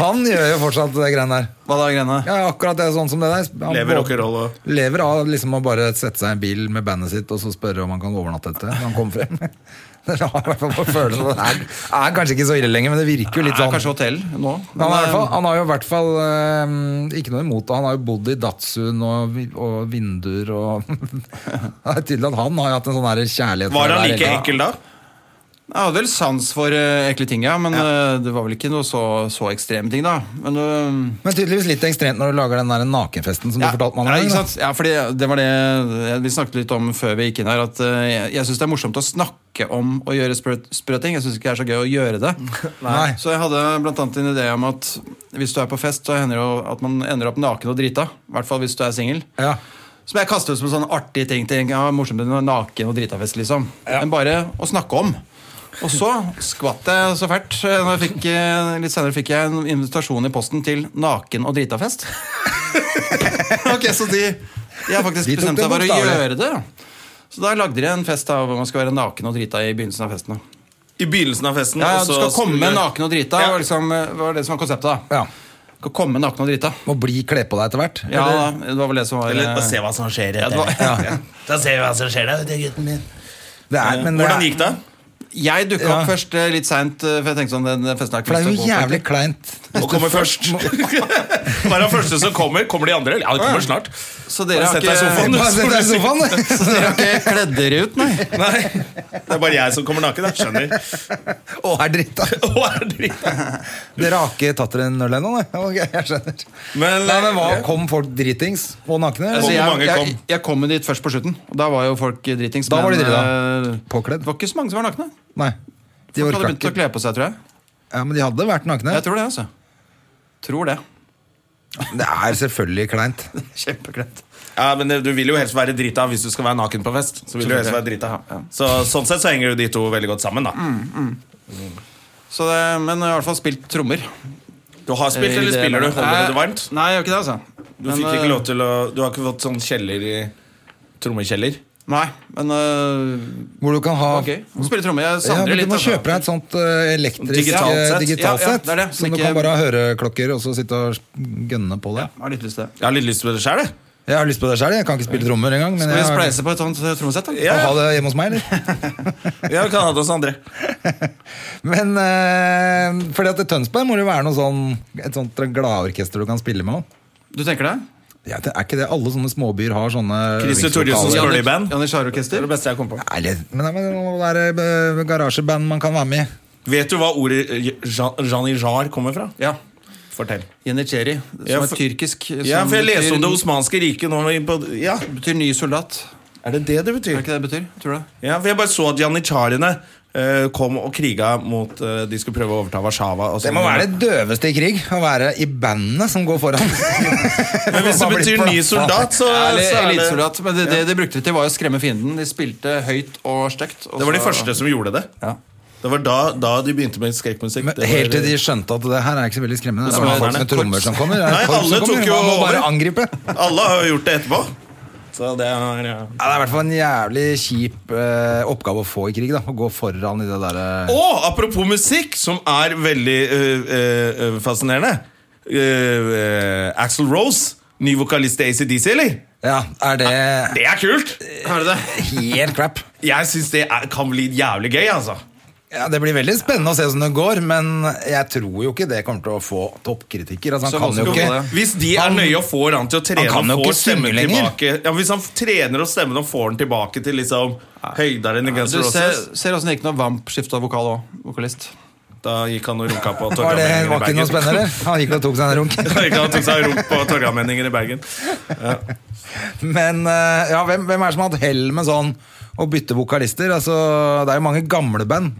S2: Han gjør jo fortsatt det greiene der.
S4: Hva da, Grena?
S2: Ja, akkurat det er sånn som det der. Han
S1: Lever
S2: både-
S1: rock'n'roll og
S2: Lever av liksom å bare sette seg i en bil med bandet sitt og så spørre om han kan overnatte etter når han kommer frem. Det har i hvert fall på følelsen at det er, er kanskje ikke så ille lenger, men det virker jo litt
S4: Det er kanskje
S2: sånn.
S4: hotell nå.
S2: Men han, er, i hvert
S4: eh,
S2: fall- han har jo i hvert fall eh, ikke noe imot det. Han har jo bodd i Datsun og, vi- og vinduer og Det er tydelig at han har jo hatt en sånn her kjærlighet for det
S1: Var han
S2: der
S1: like
S2: hele-
S1: ekkel da?
S4: Jeg hadde vel sans for eh, ekle ting, ja, men eh, det var vel ikke noe så, så ekstreme ting, da. Men, eh,
S2: Men tydeligvis litt ekstremt når du lager den der nakenfesten som
S4: ja,
S2: du fortalte meg om.
S4: ja,
S2: eller?
S4: ikke sant? ja, fordi det var det eh, vi snakket litt om før vi gikk inn her, at eh, jeg, jeg syns det er morsomt å snakke om å gjøre sprø sprø ting. Jeg syns ikke det er så gøy å gjøre det.
S2: Nei.
S4: Så jeg hadde blant annet en idé om at hvis du er på fest, så hender det jo at man ender opp naken og drita. I hvert fall hvis du er singel.
S2: Ja.
S4: Som jeg kastet ut som en sånn artig ting. Til, ja, morsomt med noe naken og dritafest, liksom. Men bare å snakke om. Og så skvatt jeg så fælt. eh, Når jeg fikk, eh, litt senere fikk jeg en invitasjon i posten til naken og dritafest. ok, Så de, de har faktisk
S2: De tok
S4: bestemt
S2: det
S4: seg for å
S2: bokstavelig.
S4: gjøre det. Så da lagde de en fest da, hvor man skal være naken og drita i begynnelsen av festen. da.
S1: I begynnelsen av festen.
S4: Ja, ja,
S1: og
S4: Du
S1: så
S4: skal komme
S1: skulle-
S4: naken og drita,
S1: Ja.
S4: var, liksom, eh, var det som var konseptet. da
S2: Ja.
S4: Du skal komme naken og drita.
S2: Må bli kle på deg etter hvert.
S4: Ja,
S2: eller?
S4: det var vel det som var
S1: Eller altså,
S4: eh,
S1: bare se hva som skjer.
S4: det var-
S1: etter. Da ser vi hva som skjer der, gutten min.
S2: Det er, men det
S1: Hvordan
S2: er-
S1: gikk det?
S4: Jeg dukka opp
S2: Ja.
S4: først eh, litt seint, eh, for jeg tenkte sånn den festen er ikke
S2: For det er jo
S4: lyst til å gå på.
S2: jævlig kleint.
S1: Og kommer først. Bare den første som kommer. Kommer de andre? Ja, de kommer snart.
S4: Så dere
S1: Bare
S4: har
S1: sett deg i sofaen,
S4: ikke,
S1: du.
S2: Bare sett deg i sofaen.
S4: så dere har ikke kledd dere ut, nei?
S1: Nei, Det er bare jeg som kommer naken. Jeg skjønner.
S2: Å, er dritt, da.
S1: Å, er det dritt?
S2: Dere har ikke tatt dere en øl ennå? nei? Ok, jeg skjønner.
S1: Men,
S2: Nei, men eh, hva, Kom folk dritings og nakne?
S4: Altså,
S1: Hvor
S2: eller?
S1: mange
S4: jeg, jeg,
S1: kom?
S4: jeg kom jo dit først på slutten, og da var jo folk eh, dritings.
S2: Da var de
S4: men, eh,
S2: Påkledd?
S4: Det var ikke så mange som var nakne.
S2: Nei. De
S4: Folk
S2: orka
S4: hadde begynt å
S2: ikke.
S4: kle på seg, tror jeg.
S2: Ja, Men de hadde vært nakne.
S4: Jeg tror det, altså. Tror det.
S2: Det er selvfølgelig kleint.
S4: Kjempekledd.
S1: Ja, men det- Du vil jo helst være drita hvis du skal være naken på fest. Så vil du helst være drita Så Sånn sett så henger jo de to veldig godt sammen. da
S4: Så det, men jeg har i hvert fall spilt trommer.
S1: Du har spilt, eller
S4: I det-
S1: spiller du? Holder du det
S4: Nei,
S1: varmt?
S4: Nei, jeg gjør ikke det, altså.
S1: Du fikk ikke lov til å Du har ikke fått sånn kjeller i Trommekjeller?
S4: Nei, men
S2: Hvor du kan ha
S4: øh, ok. Spille trommer. Jeg
S2: ja,
S4: savner
S2: men
S4: det
S2: Du
S4: litt.
S2: må
S4: altså.
S2: kjøpe deg et sånt eh, elektrisk
S1: Digitalt
S2: eh,
S1: sett.
S2: digitalt
S4: Ja, ja,
S2: sett
S4: det er det, som
S2: Som du
S4: ikke-
S2: kan bare ha høreklokker og så sitte og gønne på det.
S4: Jeg har litt lyst til det.
S1: Jeg har litt lyst til det sjøl, jeg.
S2: Jeg har lyst på det sjøl. Jeg kan ikke spille trommer engang. Men
S4: Skal vi
S2: jeg har...
S4: spleise på et sånt eh, trommesett, da?
S1: Ja.
S2: Å ha det hjemme hos meg, eller?
S1: Ja, vi kan ha det hos andre.
S2: Men eh, fordi at i Tønsberg må det jo være noe sånn, et sånt gladorkester du kan spille med. også.
S4: Du tenker det?
S2: Ja, det er ikke det alle sånne småbyer har sånne
S1: Christer Torjussen
S2: øvingslokaler?
S1: skal- Early band.
S4: Jannis
S1: Det
S4: Jarre-orkester?
S1: er det beste jeg kom på.
S2: Nei, eller- men, nei, men det må være eh, garasjeband man kan være med i.
S1: Vet du hva ordet eh, Jean- Janijar kommer fra?
S4: Ja.
S1: Fortell.
S4: Janitsjeri, som
S1: Ja,
S4: er
S1: for-
S4: tyrkisk. Som
S1: Ja, for jeg leste
S4: betyr-
S1: om det osmanske riket nå i- på- Ja,
S4: Betyr ny soldat.
S1: Er det det det
S4: Er det
S1: betyr?
S4: ikke det det betyr? Tror du det?
S1: Ja, for Jeg bare så at janitsjarene eh, kom og kriga mot eh, De skulle prøve å overta Warszawa. og
S2: Det
S1: sånn.
S2: må være det døveste i krig, å være i bandene som går foran.
S1: Men hvis det
S2: Bare bli
S1: betyr ny
S2: plaffa.
S1: soldat, så,
S4: Eller
S1: så er det
S4: elitesoldat. Men det, det de brukte det til, var jo å skremme fienden. De spilte høyt og stygt. og
S1: Det var de
S4: så-
S1: første som gjorde det.
S4: Ja.
S1: Det var da, da de begynte med skrekkmusikk.
S2: Men
S1: Det var-
S2: helt til de skjønte at det her er ikke så veldig skremmende. Det er bare folk med trommer som kommer. Det er
S1: Nei,
S2: folk som
S1: alle
S2: kommer.
S1: tok jo
S2: Man må bare
S1: over.
S2: angripe.
S1: Alle har jo gjort det etterpå. Så det er ja.
S2: Ja, det er i hvert fall en jævlig kjip eh, oppgave å få i krig. da Å gå foran i det eh. derre
S1: Og apropos musikk, som er veldig øh, øh, øh, fascinerende. Uh, Axel Rose, ny vokalist i ACDC, eller?
S2: Ja, er det
S1: Det er kult!
S4: Er det det?
S2: helt crap?
S1: Jeg syns det er, kan bli jævlig gøy, altså.
S2: Ja, Det blir veldig spennende å se hvordan det går, men jeg tror jo ikke det kommer til å få toppkritikker. Altså,
S4: Så
S2: han kan jo
S4: vanskelig å få
S2: ikke
S4: det.
S1: Hvis de er
S2: Han-
S1: nøye og får han til å trene
S2: han kan jo
S1: og
S2: ikke
S1: får stemmen
S2: synge lenger.
S1: tilbake ja, Hvis han trener og stemmen og får den tilbake til liksom høyder enn i Guns
S4: Du
S1: N'
S4: ser,
S1: Roses
S4: ser åssen det gikk når Vamp skifta vokal òg. Vokalist.
S1: Da gikk han og runka på
S2: Var det var ikke noe spennende? eller?
S1: Torgallmenningen i Bergen.
S2: Han gikk og tok seg en runk.
S1: Da gikk han og tok seg en runk på Torgallmenningen i Bergen.
S2: Men eh, ja, hvem, hvem er det som har hatt hell med sånn å bytte vokalister? Altså, det er jo mange gamle band.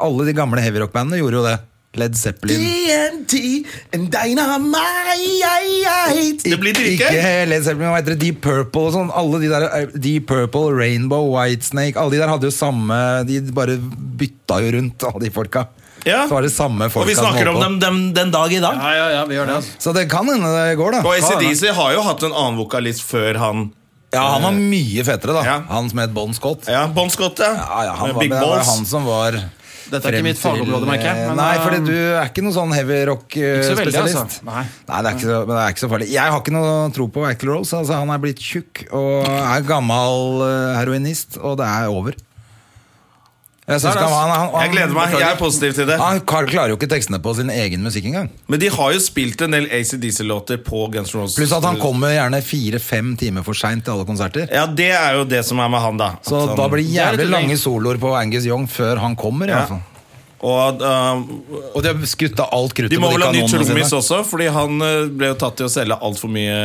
S2: Alle de gamle heavyrock-bandene gjorde jo det. Led Zeppelin.
S1: TNT and dynamite Det blir drikke.
S2: Ikke Led Zeppelin, hva heter det? Deep Purple og sånn. Alle de der, eh, Deep Purple, Rainbow, Whitesnake Alle de der hadde jo samme De bare bytta jo rundt, alle de folka.
S1: Ja.
S2: Så var det samme
S1: Og
S2: folka
S1: vi
S2: som
S1: snakker
S2: holdt
S1: om
S2: på.
S1: dem, dem den dag i dag.
S4: Ja, ja, ja, vi gjør det, altså.
S2: Så det kan hende det går, da.
S1: Og ACDC har jo hatt en annen vokalist før han.
S2: Ja, han var mye fetere, da.
S1: Ja.
S2: Han som het Bon Scott.
S1: Ja, Bon Scott, ja.
S2: Ja, ja, han
S1: Med
S2: var,
S1: Big
S2: det var han
S1: Balls.
S2: som var
S4: Dette er ikke
S2: frem
S4: mitt
S2: til-
S4: fagområde, merker jeg, men,
S2: Nei,
S4: eh,
S2: fordi du er ikke noen sånn heavy
S4: så veldig,
S2: rock-spesialist.
S4: altså. Nei.
S2: det er ikke så, men det er ikke så farlig. Jeg har ikke noe tro på Ackle Rose. Altså, han er blitt tjukk og er gammel eh, heroinist, og det er over. Jeg, synes
S4: Der,
S2: ikke han,
S4: altså.
S2: han, han,
S1: Jeg gleder meg. Jeg er positiv til det.
S2: Han kar- klarer jo ikke tekstene på sin egen musikk engang.
S1: Men de har jo spilt en del ACDC-låter på Guns N' Roses.
S2: Pluss at han kommer gjerne fire-fem timer for seint til alle konserter.
S1: Ja, det er jo det som er med han, da. At
S2: Så
S1: han,
S2: da blir det
S4: sånn. Det er litt
S2: jævlig
S4: lenge.
S2: lange soloer på Angus Young før han kommer. i
S1: Ja.
S2: hvert fall.
S1: Og um,
S2: Og de har skutt av alt kruttet
S1: de må
S2: på de
S1: vel ha ny
S2: kanonene sine.
S1: trommis også, fordi han eh, ble jo tatt til å selge altfor mye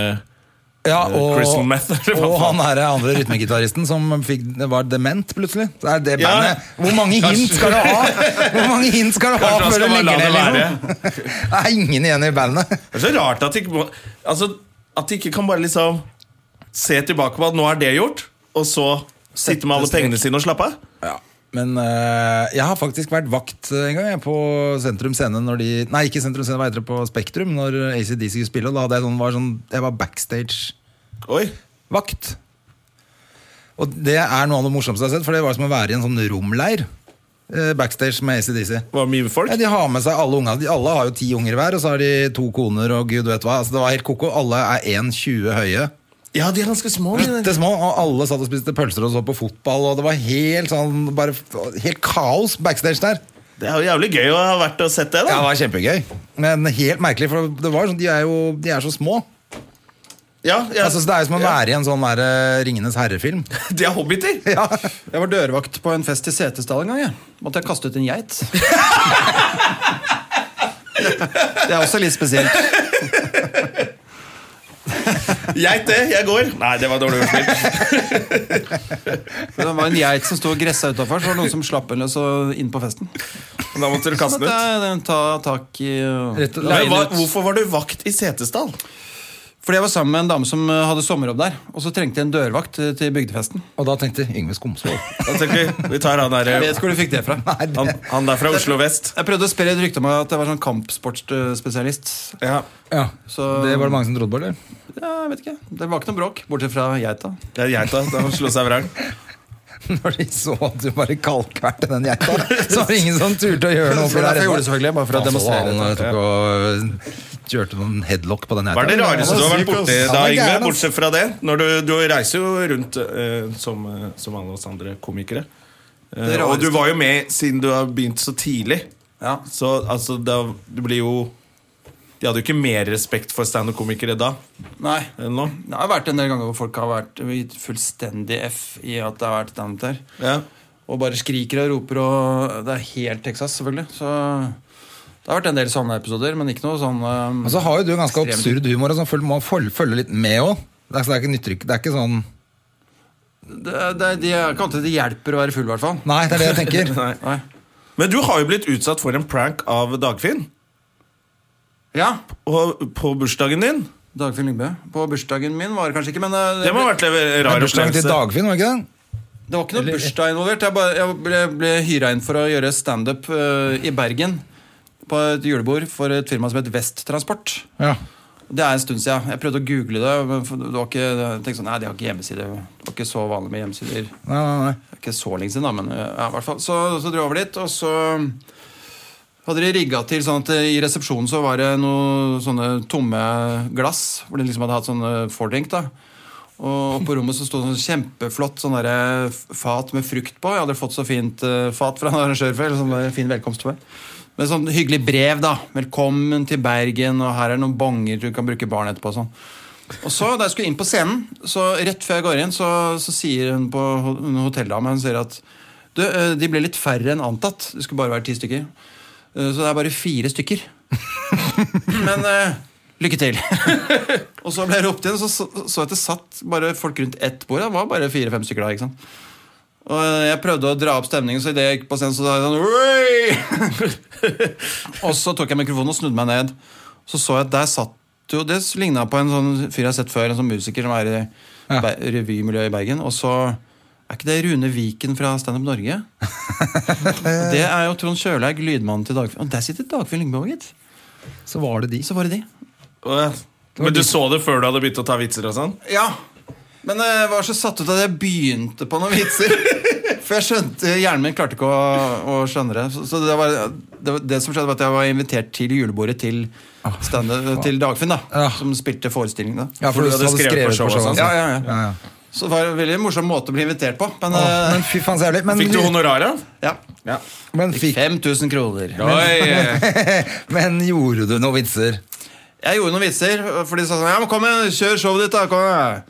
S2: Ja, og,
S1: Eh, Crystal meth, eller hva
S2: og
S1: faen.
S2: han her er andre rytmegitaristen som fikk, var dement plutselig. Det er det
S1: Ja.
S2: bandet. Hvor mange hint
S1: Kanskje.
S2: skal du ha Hvor mange hint skal du ha
S1: Kanskje han
S2: før du
S1: skal bare
S2: legger
S1: la
S2: ned?
S1: det
S2: Liksom? Det er ingen igjen i bandet.
S1: Det er så rart at de ikke, må- altså, at de ikke kan bare liksom se tilbake på at nå er det gjort, og så sitte med alle
S2: strek.
S1: pengene sine og slappe av.
S2: Men eh, jeg har faktisk vært vakt eh, en gang jeg, på Sentrum Scene når de Nei, ikke Sentrum Scene, hva heter det, på Spektrum, når ACDC skulle spille. Og da hadde jeg sånn, var sånn Jeg var backstage.
S1: Oi.
S2: vakt. Og det er noe av det morsomste jeg har sett, for det var som å være i en sånn romleir. eh, Backstage med ACDC.
S1: Var det mye folk?
S2: Ja, de har med seg alle ungene. De- Alle har jo ti unger hver, og så har de to koner og gud vet hva. Altså, det var helt koko. Alle er 1,20 høye.
S1: Ja, de er ganske små. de der.
S2: Bitte små, og alle satt og spiste pølser og så på fotball, og det var helt sånn bare, Helt kaos backstage der.
S1: Det er jo jævlig gøy å ha vært og sett det,
S2: Ja, det
S1: da.
S2: var kjempegøy, men helt merkelig, for det var sånn, de er jo de er så små.
S1: Ja, ja.
S2: Altså, så det er jo som å være i en sånn der, eh, Ringenes herre-film.
S1: De er hobbiter.
S2: Ja.
S4: Jeg var dørvakt på en fest i Setesdal en gang. Jeg. Måtte jeg kaste ut en geit. Det er også litt spesielt.
S1: Geit det, jeg går. Nei, det var dårlig ordspill.
S4: Det var en geit som sto og gressa utafor, så var det noen som slapp den løs og inn på festen.
S1: Da måtte du
S4: Så
S1: kaste den
S4: måtte
S1: ut.
S4: jeg den ta tak i og
S2: Rett og-
S1: Men
S4: leie den
S1: hva,
S4: ut.
S1: hvorfor var du vakt i Setesdal?
S4: Fordi jeg var sammen med en dame som eh, hadde sommerjobb der, og så trengte jeg en dørvakt eh, til bygdefesten.
S2: Og da tenkte Yngve Skomsvold
S1: Da tenker vi, vi tar han
S4: Jeg
S1: der
S4: vet hvor du fikk det fra.
S2: Nei, det,
S1: han, han der fra Oslo vest.
S4: Jeg prøvde å spre et rykte om at jeg var sånn kampsportsspesialist.
S1: Ja,
S2: ja.
S4: Så-
S2: det var det mange som trodde på, eller?
S4: Ja, jeg vet ikke. Det var ikke noe bråk, bortsett fra geita.
S1: det er geita. da Han slo seg vrang.
S2: Når de så at du bare kalkverte den geita, så var det ingen som turte å gjøre noe.
S4: Det var derfor jeg gjorde det, selvfølgelig, bare for å
S2: Han så
S4: demonstrere
S2: Han
S4: det.
S2: jeg tok og øh, kjørte noen headlock på den geita.
S1: Hva er det rareste du har vært borti
S2: Han
S1: da,
S2: var
S1: Yngve?
S2: gæren, ass.
S1: Bortsett fra det. Når du, du reiser jo rundt eh, som, eh, som alle oss andre komikere. Eh,
S4: Det
S1: og du
S4: rareste.
S1: var jo med siden du har begynt så tidlig.
S4: Ja.
S1: Så altså, da, du blir jo De hadde jo ikke mer respekt for standup-komikere da
S4: Nei.
S1: enn nå.
S4: Det har vært en del ganger hvor folk har vært gitt fullstendig F i at det har vært stand der.
S1: Ja.
S4: Og bare skriker og roper og Det er helt Texas, selvfølgelig. Så det har vært en del sånne episoder, men ikke noe sånn um,
S2: Og så har jo du ganske
S4: Ekstremt.
S2: absurd humor, og sånn, føl- må følge, følge litt med òg. Det, er- så det er ikke nyttrykk, det er ikke sånn
S4: det, det, de, jeg kan ikke si det hjelper å være full, i hvert fall.
S2: Nei, det er det jeg tenker.
S4: Nei.
S1: Men du har jo blitt utsatt for en prank av Dagfinn
S4: Ja.
S1: og, på bursdagen din.
S4: Dagfinn Lyngbø. På bursdagen min var det kanskje ikke, men uh,
S1: Det må ha vært en rar
S2: Bursdagen til
S1: opplevelse.
S2: Dagfinn, var det ikke det?
S4: Det var ikke noe bursdag involvert. Jeg, bare, jeg ble, ble hyra inn for å gjøre standup uh, i Bergen. På et julebord for et firma som het Vesttransport.
S2: Ja.
S4: Det er en stund siden. Jeg prøvde å google det. Men for- det var ikke, jeg tenkte sånn, nei, de har ikke hjemmeside. Det var ikke så vanlig med hjemmesider.
S2: Nei, nei, nei.
S4: Det er Ikke så lenge siden, da, men uh, ja, i hvert fall. Så, så dro jeg over dit, og så hadde de rigga til sånn at uh, i resepsjonen så var det noen sånne tomme glass, hvor de liksom hadde hatt sånne fordrink, da. Og oppe på rommet så sto det sånn kjempeflott sånn derre fat med frukt på. Jeg hadde fått så fint eh, fat fra en arrangør før. eller Sånn der fin velkomst for meg. Med sånn hyggelig brev, da. 'Velkommen til Bergen', og 'her er noen bonger du kan bruke barn etterpå'. og sånn. Og så, da jeg skulle inn på scenen, så rett før jeg går inn, så, så sier hun på ho- hun hotelldame hun sier at du, eh, de ble litt færre enn antatt. Det skulle bare være ti stykker. Eh, Så det er bare fire stykker. Men eh, lykke til. og så ble jeg ropt inn, og så så så jeg at det satt bare folk rundt ett bord. Det var bare fire-fem stykker da. ikke sant? Og eh, jeg prøvde å dra opp stemningen, så idet jeg gikk på scenen, så sa jeg sånn «Oi!» Og så tok jeg mikrofonen og snudde meg ned. Så så jeg at der satt jo Det ligna på en sånn fyr jeg har sett før, en sånn musiker som er i Be- revymiljøet i Bergen. Og så er ikke det Rune Viken fra Stand Up Norge? det er jo Trond Kjølaug, lydmannen til Dagfinn. Og der sitter Dagfinn Lyngbo, gitt.
S2: Så var det de.
S4: Så var det de.
S1: Åh, ja. Men du så det før du hadde begynt å ta vitser og sånn?
S4: Ja, men eh, jeg var så satt ut at jeg begynte på noen vitser. For jeg skjønte, Hjernen min klarte ikke å, å skjønne det. Så, så det, var, det, var- det som skjedde, var at jeg var invitert til julebordet til, standup- til Dagfinn, da,
S2: Ah, Ja.
S4: som spilte forestillingen. da.
S2: Ja, for du
S1: hadde
S2: hadde
S1: skrevet
S2: skrevet
S1: på
S2: på
S1: showet,
S2: showet.
S1: sant?
S4: Ja, ja, ja.
S2: Ja, ja.
S4: Så det var en veldig morsom måte å bli invitert på. Men,
S2: Åh,
S4: eh,
S2: Men fy faen, så jævlig. Men,
S1: Fikk du honorar av?
S4: ja.
S1: Ja.
S2: men, fikk,
S4: 5000 kroner.
S1: Oi!
S2: men gjorde du noen vitser?
S4: Jeg gjorde noen vitser, for de sa sånn Ja, men kom igjen, kjør showet ditt, da. kom igjen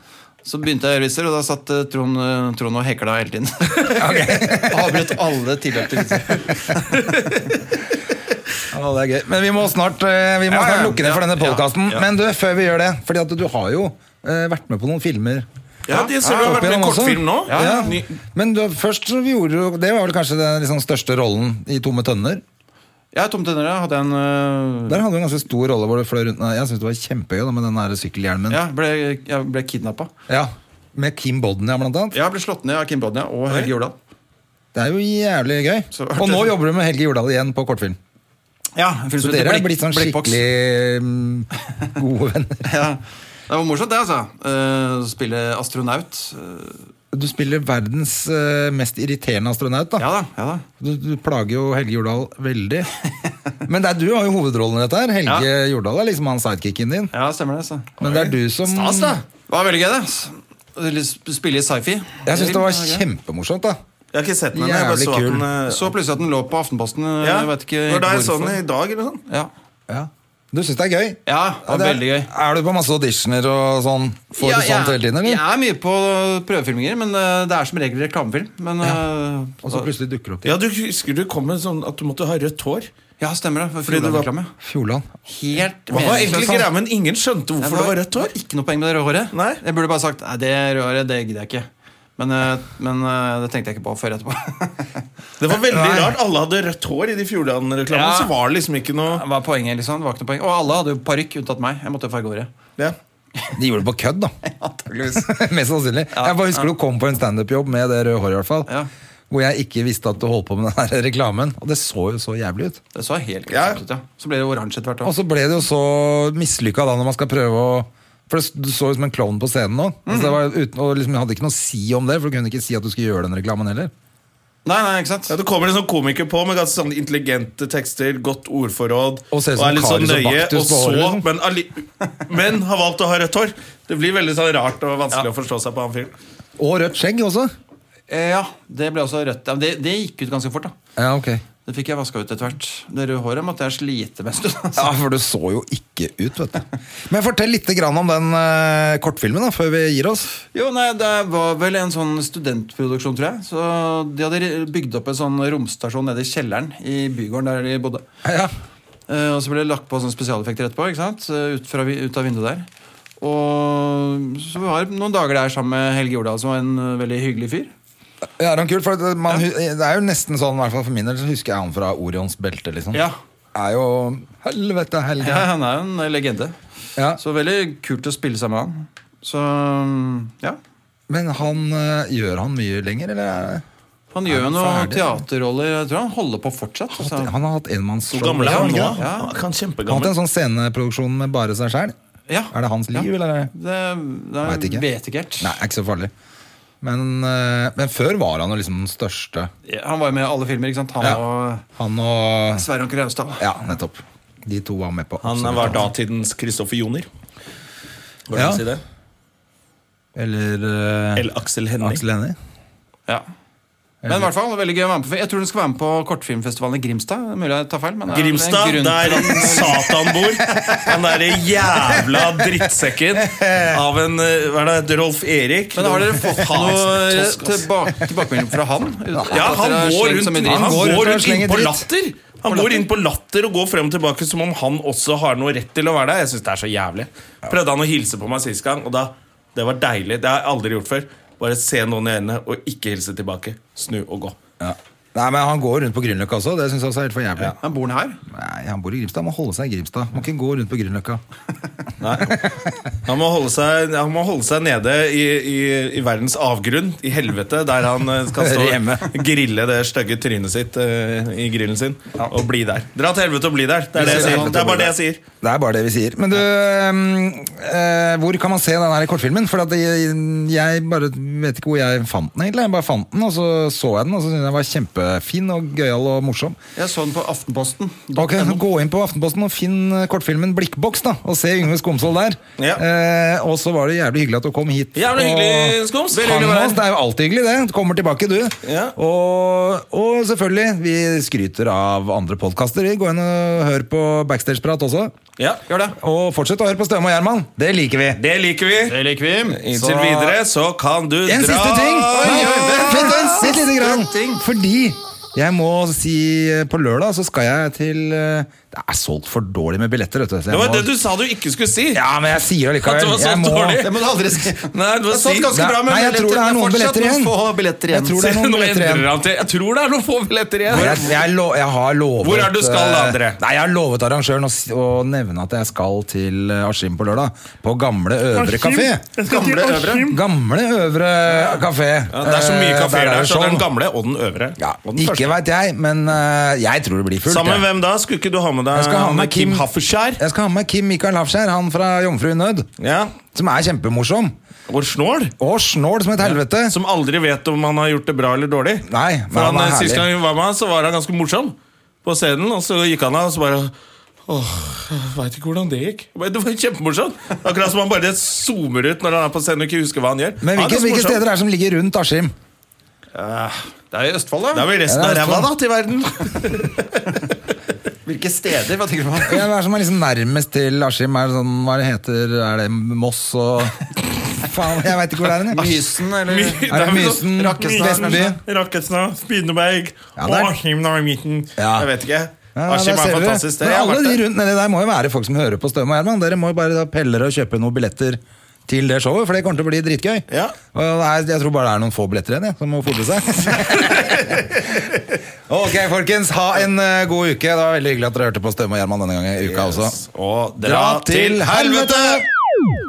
S4: så begynte jeg å gjøre vitser, og da satt eh, Trond, eh, Trond og hekla hele tiden. Avbrøt alle tilløp til vitser.
S2: Ja, det er gøy. Men vi må snart, eh, vi må
S4: Ja, ja.
S2: snart lukke ned for
S4: Ja,
S2: denne podkasten.
S4: ja, ja.
S2: Men du, før vi gjør det, fordi at du har jo eh, vært med på noen filmer.
S1: Ja, de ser du har
S2: opp
S1: vært med i
S2: igjennom også.
S1: kortfilm nå.
S2: Ja.
S1: Ny-
S2: Men du, først så gjorde du Det var vel kanskje den liksom, største rollen i Tomme tønner.
S4: Ja, Tom Tønnere hadde en eh,
S2: Der hadde du en ganske stor rolle hvor du fløy rundt. Nei, Jeg syns det var kjempegøy da, med den der sykkelhjelmen.
S4: ja, ble, Jeg ble kidnappa.
S2: Ja. Med Kim Bodnia, blant annet.
S4: Jeg ble slått ned av Kim Bodnia og Helge Jordal.
S2: Det er jo jævlig gøy.
S4: Så-
S2: Og nå jobber du med Helge Jordal igjen på kortfilm.
S4: Ja, en film
S2: Så
S4: som heter
S2: dere er
S4: Blikk-
S2: blitt sånn
S4: Blikkboks.
S2: skikkelig mm, gode venner.
S4: ja. Det var morsomt, det, altså. Eh, spille astronaut.
S2: Du spiller verdens eh, mest irriterende astronaut, da.
S4: Ja da. ja da
S2: Du, du plager jo Helge Jordal veldig. Men det er, du har jo hovedrollen i dette. her Helge Jordal er liksom han sidekicken din.
S4: Ja, stemmer det. altså
S2: Men det er du som
S1: Stas, da.
S4: Det var veldig gøy, det. ass. Litt Spille i sci-fi.
S2: Jeg syns det var kjempemorsomt, da.
S1: Jeg har ikke sett den. Jeg bare
S2: Jævlig
S1: så at
S2: kul.
S1: den eh,
S4: Så plutselig at den lå på Aftenposten.
S1: ja.
S4: Jeg vet ikke
S1: Når det er
S4: hvorfor.
S1: sånn i dag eller sånn.
S4: Ja.
S2: Ja. Du syns det er gøy?
S4: ja, det var
S2: det
S4: veldig gøy.
S2: Er du på masse auditioner og sånn? Får
S4: Ja,
S2: du sånt hele tiden, eller?
S4: Jeg er mye på prøvefilminger, men eh, det er som regel reklamefilm. Men, eh,
S2: Og så plutselig dukker det opp til
S1: Ja, du husker du kom med sånn at du måtte ha rødt hår.
S4: ja, stemmer det. for
S1: Fordi du var-
S4: Fjordland-reklame.
S2: Fjordland.
S4: Helt
S1: Hva var
S4: meningsløst,
S1: egentlig
S4: ass.
S1: greia, men ingen skjønte
S4: Nei,
S1: hvorfor det var rødt hår?
S4: Ikke noe poeng med det røde håret.
S1: Nei.
S4: Jeg burde bare sagt nei, det røde håret det gidder jeg ikke. Men, eh, men eh, det tenkte jeg ikke på før etterpå.
S1: Det var veldig
S2: Nei.
S1: rart. Alle hadde rødt hår i de Fjordland-reklamene.
S4: Ja.
S1: Så var det liksom ikke noe
S4: Det var poenget liksom, det var ikke noe poeng Og alle hadde jo parykk, unntatt meg. Jeg måtte jo farge håret.
S1: ja.
S2: De gjorde det på kødd, da.
S4: Antakeligvis.
S2: Mest sannsynlig. jeg bare husker du kom på en standup-jobb med det røde håret, i hvert fall.
S4: Ja.
S2: Hvor jeg ikke visste at du holdt på med den her reklamen. Og det så jo så jævlig ut.
S4: Det så helt
S1: Ja.
S4: grusomt ut, ja. Så ble det oransje etter hvert.
S2: Og
S4: også.
S2: så ble det jo så mislykka da, når man skal prøve å For det- du så ut som en klovn på scenen nå. Altså, det var uten, og liksom, jeg hadde ikke noe å si om det, for du kunne ikke si at du skulle gjøre den reklamen heller.
S4: Nei, nei, ikke sant?
S1: Ja, det kommer en sånn komiker på med ganske sånn intelligente tekster, godt ordforråd
S2: Og ser ut som
S1: er litt sånn
S2: Karius og
S1: nøye,
S2: Baktus
S1: og
S2: på
S1: så,
S2: håret, liksom.
S1: men, alli- men har valgt å ha rødt hår. Det blir veldig sånn rart og vanskelig å forstå seg på han fyren.
S2: Og rødt skjegg også.
S4: Eh, Ja, det ble også rødt. Ja, men det, det gikk ut ganske fort, da.
S2: Ja, ok
S4: Det fikk jeg vaska ut etter hvert. Det røde håret måtte jeg slite med en stund. Altså.
S2: Ja, for du så jo ikke ut, vet du. Men fortell litt grann om den eh, kortfilmen da, før vi gir oss.
S4: Jo, nei, Det var vel en sånn studentproduksjon, tror jeg. Så De hadde bygd opp en sånn romstasjon nede i kjelleren i bygården der de bodde.
S2: Ja,
S4: Eh, og så ble det lagt på sånne spesialeffekter etterpå. ikke sant? Eh, Ut, fra, vi- ut av vinduet der. Og så var det noen dager der sammen med Helge Jordal, som var en eh, veldig hyggelig fyr.
S2: ja det er kult, for det- man, hu- det er jo nesten sånn, i hvert fall for min del, så husker jeg han fra Orions belte, liksom.
S4: Ja.
S2: Er jo helvete helge.
S4: Ja, Han er jo en legende.
S2: Ja.
S4: Så veldig kult å spille sammen med han. Så mm, ja.
S2: Men han, eh, gjør han mye lenger, eller? er det-
S4: Han gjør jo
S2: han
S4: noen
S2: ferdig?
S4: teaterroller. Jeg tror han holder på fortsatt. altså.
S2: Han har hatt enmannsshow.
S1: Så gammel er han nå.
S2: ikke det?
S1: Ja. Han er
S2: Han hadde
S1: kjempegammel.
S2: en sånn sceneproduksjon med bare seg selv.
S4: Ja.
S2: Er det hans liv,
S4: Ja.
S2: eller? er det-
S4: Det, det
S2: Vet ikke.
S4: vet ikke helt.
S2: Nei, er ikke så farlig. Men, eh, men før var han jo liksom den største.
S4: Han var jo med i alle filmer. ikke sant? Han
S2: Ja.
S4: og
S2: Han og...
S4: Sverre Anker Austdal.
S2: Ja, nettopp. De to var med på.
S1: Han
S2: absolutt
S1: var
S2: alt.
S1: datidens Kristoffer Joner. Hvordan
S2: Ja.
S1: si det?
S2: Eller eh,
S1: Eller Aksel Henning.
S2: Aksel Hennie.
S4: Ja. Men i hvert fall, veldig gøy å være med på. Jeg tror den skal være med på kortfilmfestivalen i Grimstad. Mulig jeg tar feil, men det er
S1: Grimstad,
S4: en grunn
S1: der
S4: til at-
S1: Satan bor. Han derre jævla drittsekken av en eh, Hva er det, Rolf Erik?
S4: Men har dere fått
S1: Faen,
S4: noe
S1: tosk, ass.
S4: tilbake, tilbakemelding fra han?
S1: Ja,
S4: At
S1: han
S4: dere har
S1: går
S4: slengt så mye
S1: rundt,
S4: dritt?
S1: han går
S2: rundt og
S1: rundt inn
S2: slenger
S1: på
S2: dritt.
S1: latter. Han går inn på latter og går frem og tilbake som om han også har noe rett til å være der. Jeg synes det er så jævlig Prøvde han å hilse på meg sist gang, og da Det var deilig. Det har jeg aldri gjort før. Bare se noen i øynene og ikke hilse tilbake. Snu og gå.
S2: Ja. Nei, men Han går rundt på Grünerløkka også. Det syns jeg også er helt for jævlig.
S4: Han bor han her?
S2: Nei, Han bor i Grimstad, han må holde seg i Grimstad. Han Må ikke gå rundt på Grünerløkka.
S1: Han må holde seg, han må holde seg nede i, i, i verdens avgrunn, i helvete, der han eh, skal
S2: Hører
S1: stå
S2: hjemme.
S1: grille det stygge trynet sitt eh, i grillen sin. Og bli der. Dra til helvete og bli der. Det er, det jeg sier. Det er bare det jeg sier.
S2: Det er bare det vi sier. Men du, ehm, eh, hvor kan man se den her kortfilmen? For at jeg, jeg bare vet ikke hvor jeg fant den, egentlig. Jeg bare fant den, og så så jeg den, og så syntes jeg den var kjempefin og gøyal og morsom.
S4: Jeg så den på Aftenposten.
S2: Ok, Gå inn på Aftenposten og finn eh, kortfilmen 'Blikkboks' da, og se Yngve Skomsvold der.
S1: Ja.
S2: Eh, og så var det jævlig hyggelig at du kom hit.
S1: Jævlig
S2: og-
S1: hyggelig, Skoms. Veldig
S2: Hang
S1: hyggelig å
S2: med
S1: være
S2: oss,
S1: her.
S2: Det er jo alltid hyggelig, det. Du kommer tilbake, du.
S1: Ja.
S2: Og, og selvfølgelig, vi skryter av andre podkaster. Vi går inn og hører på backstage-prat også.
S1: Ja, gjør det.
S2: Og fortsett å høre på Støme og Gjerman. Det liker vi.
S1: Det liker vi.
S4: Det liker vi.
S1: Inntil
S2: Så-
S1: videre så kan du
S2: En
S1: dra
S2: siste ting!
S1: Oi, oi, oi.
S2: Vent, vent, vent, sitt lite grann. Fordi jeg må si eh, på lørdag så skal jeg til eh, Det er solgt for dårlig med billetter, vet du. så jeg
S1: Det var
S2: må-
S1: det du sa du ikke skulle si.
S2: Ja, men jeg sier det
S1: At det
S2: likevel.
S1: var så
S2: Jeg må-
S1: dårlig.
S4: Det må du aldri si.
S1: Nei, det var
S4: Det er sant
S1: si-
S4: ganske bra med
S2: Nei, jeg tror det er noen billetter igjen.
S4: Få billetter igjen.
S2: Jeg tror det er
S1: Se,
S2: noen
S1: nå
S2: billetter
S1: endrer
S2: igjen.
S1: han til Jeg tror det er noen få billetter
S2: Jeg,
S1: igjen.
S2: jeg, lo, jeg har lovet
S1: Hvor er du skal,
S2: eh,
S1: André?
S2: Nei, Jeg har lovet arrangøren å, si- å nevne at jeg skal til eh, Askim på lørdag. På Gamle Øvre kafé.
S4: Gamle øvre.
S2: Gamle Øvre kafé.
S1: Ja, det er så mye
S2: Eh, der
S1: kafeer
S2: er
S1: der,
S2: det
S1: så den
S2: show.
S1: gamle og den øvre.
S2: ja,
S1: og den
S2: Ikke veit jeg, men eh, jeg tror det blir fullt.
S1: Sammen
S2: jeg.
S1: med hvem da? Skulle ikke du ha med deg
S2: Jeg skal ha
S1: han
S2: med
S1: med Kim
S2: Kim-
S1: Hafferskjær?
S2: Jeg skal ha med Kim Mikael Hafskjær, han fra Jomfru i nød.
S1: Ja.
S2: Som er kjempemorsom.
S1: Vår snål?
S2: Og snål som et helvete.
S1: Som aldri vet om han har gjort det bra eller dårlig.
S2: Nei, men
S1: For
S2: han
S1: han,
S2: er
S1: eh, Sist
S2: herlig.
S1: gang vi var med, han, så var han ganske morsom på scenen, og så gikk han av, og så bare Åh, jeg veit ikke hvordan det gikk. Men Det var jo kjempemorsomt! Akkurat som han bare zoomer ut når han er på scenen og ikke husker hva han gjør.
S2: Men
S1: Ja,
S2: hvilke,
S1: det er så
S2: hvilke
S1: morsomt.
S2: steder er det som ligger rundt Askim?
S4: Det er i Østfold,
S1: Det
S4: da.
S1: er vel resten
S2: Ja,
S1: av
S2: det er
S1: ræva, da,
S2: sant.
S1: til verden.
S4: Hvilke steder? Hva tenker du på?
S2: Ja, Hva er det som er liksom nærmest til Askim? Er det sånn, hva det heter Er det Moss og Faen, jeg veit ikke hvor det er. den, jeg.
S4: Mysen, eller?
S2: Er det Mysen,
S4: Rakkestad,
S2: Vestby?
S1: Rakkestad, Spydeberg,
S2: Ja, det er-
S1: og Midten.
S2: Ja.
S1: Jeg vet ikke.
S2: Ja,
S1: Askim
S2: der ser
S1: er et
S2: dere.
S1: fantastisk sted.
S2: Men
S1: Jeg har
S2: alle
S1: vært
S2: de
S1: der.
S2: rundt nedi der må jo være folk som hører på Støm og Herman. Dere må jo bare da pelle og kjøpe noen billetter til det showet, for det kommer til å bli dritgøy.
S1: Ja.
S2: Og det er, jeg tror bare det er noen få billetter igjen, jeg, som må fodre seg. ok, folkens. Ha en eh, god uke. Det var veldig hyggelig at dere hørte på Støm og Herman denne gangen i uka også.
S1: Og dra til helvete!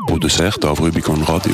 S5: Produsert av Rubicon Radio.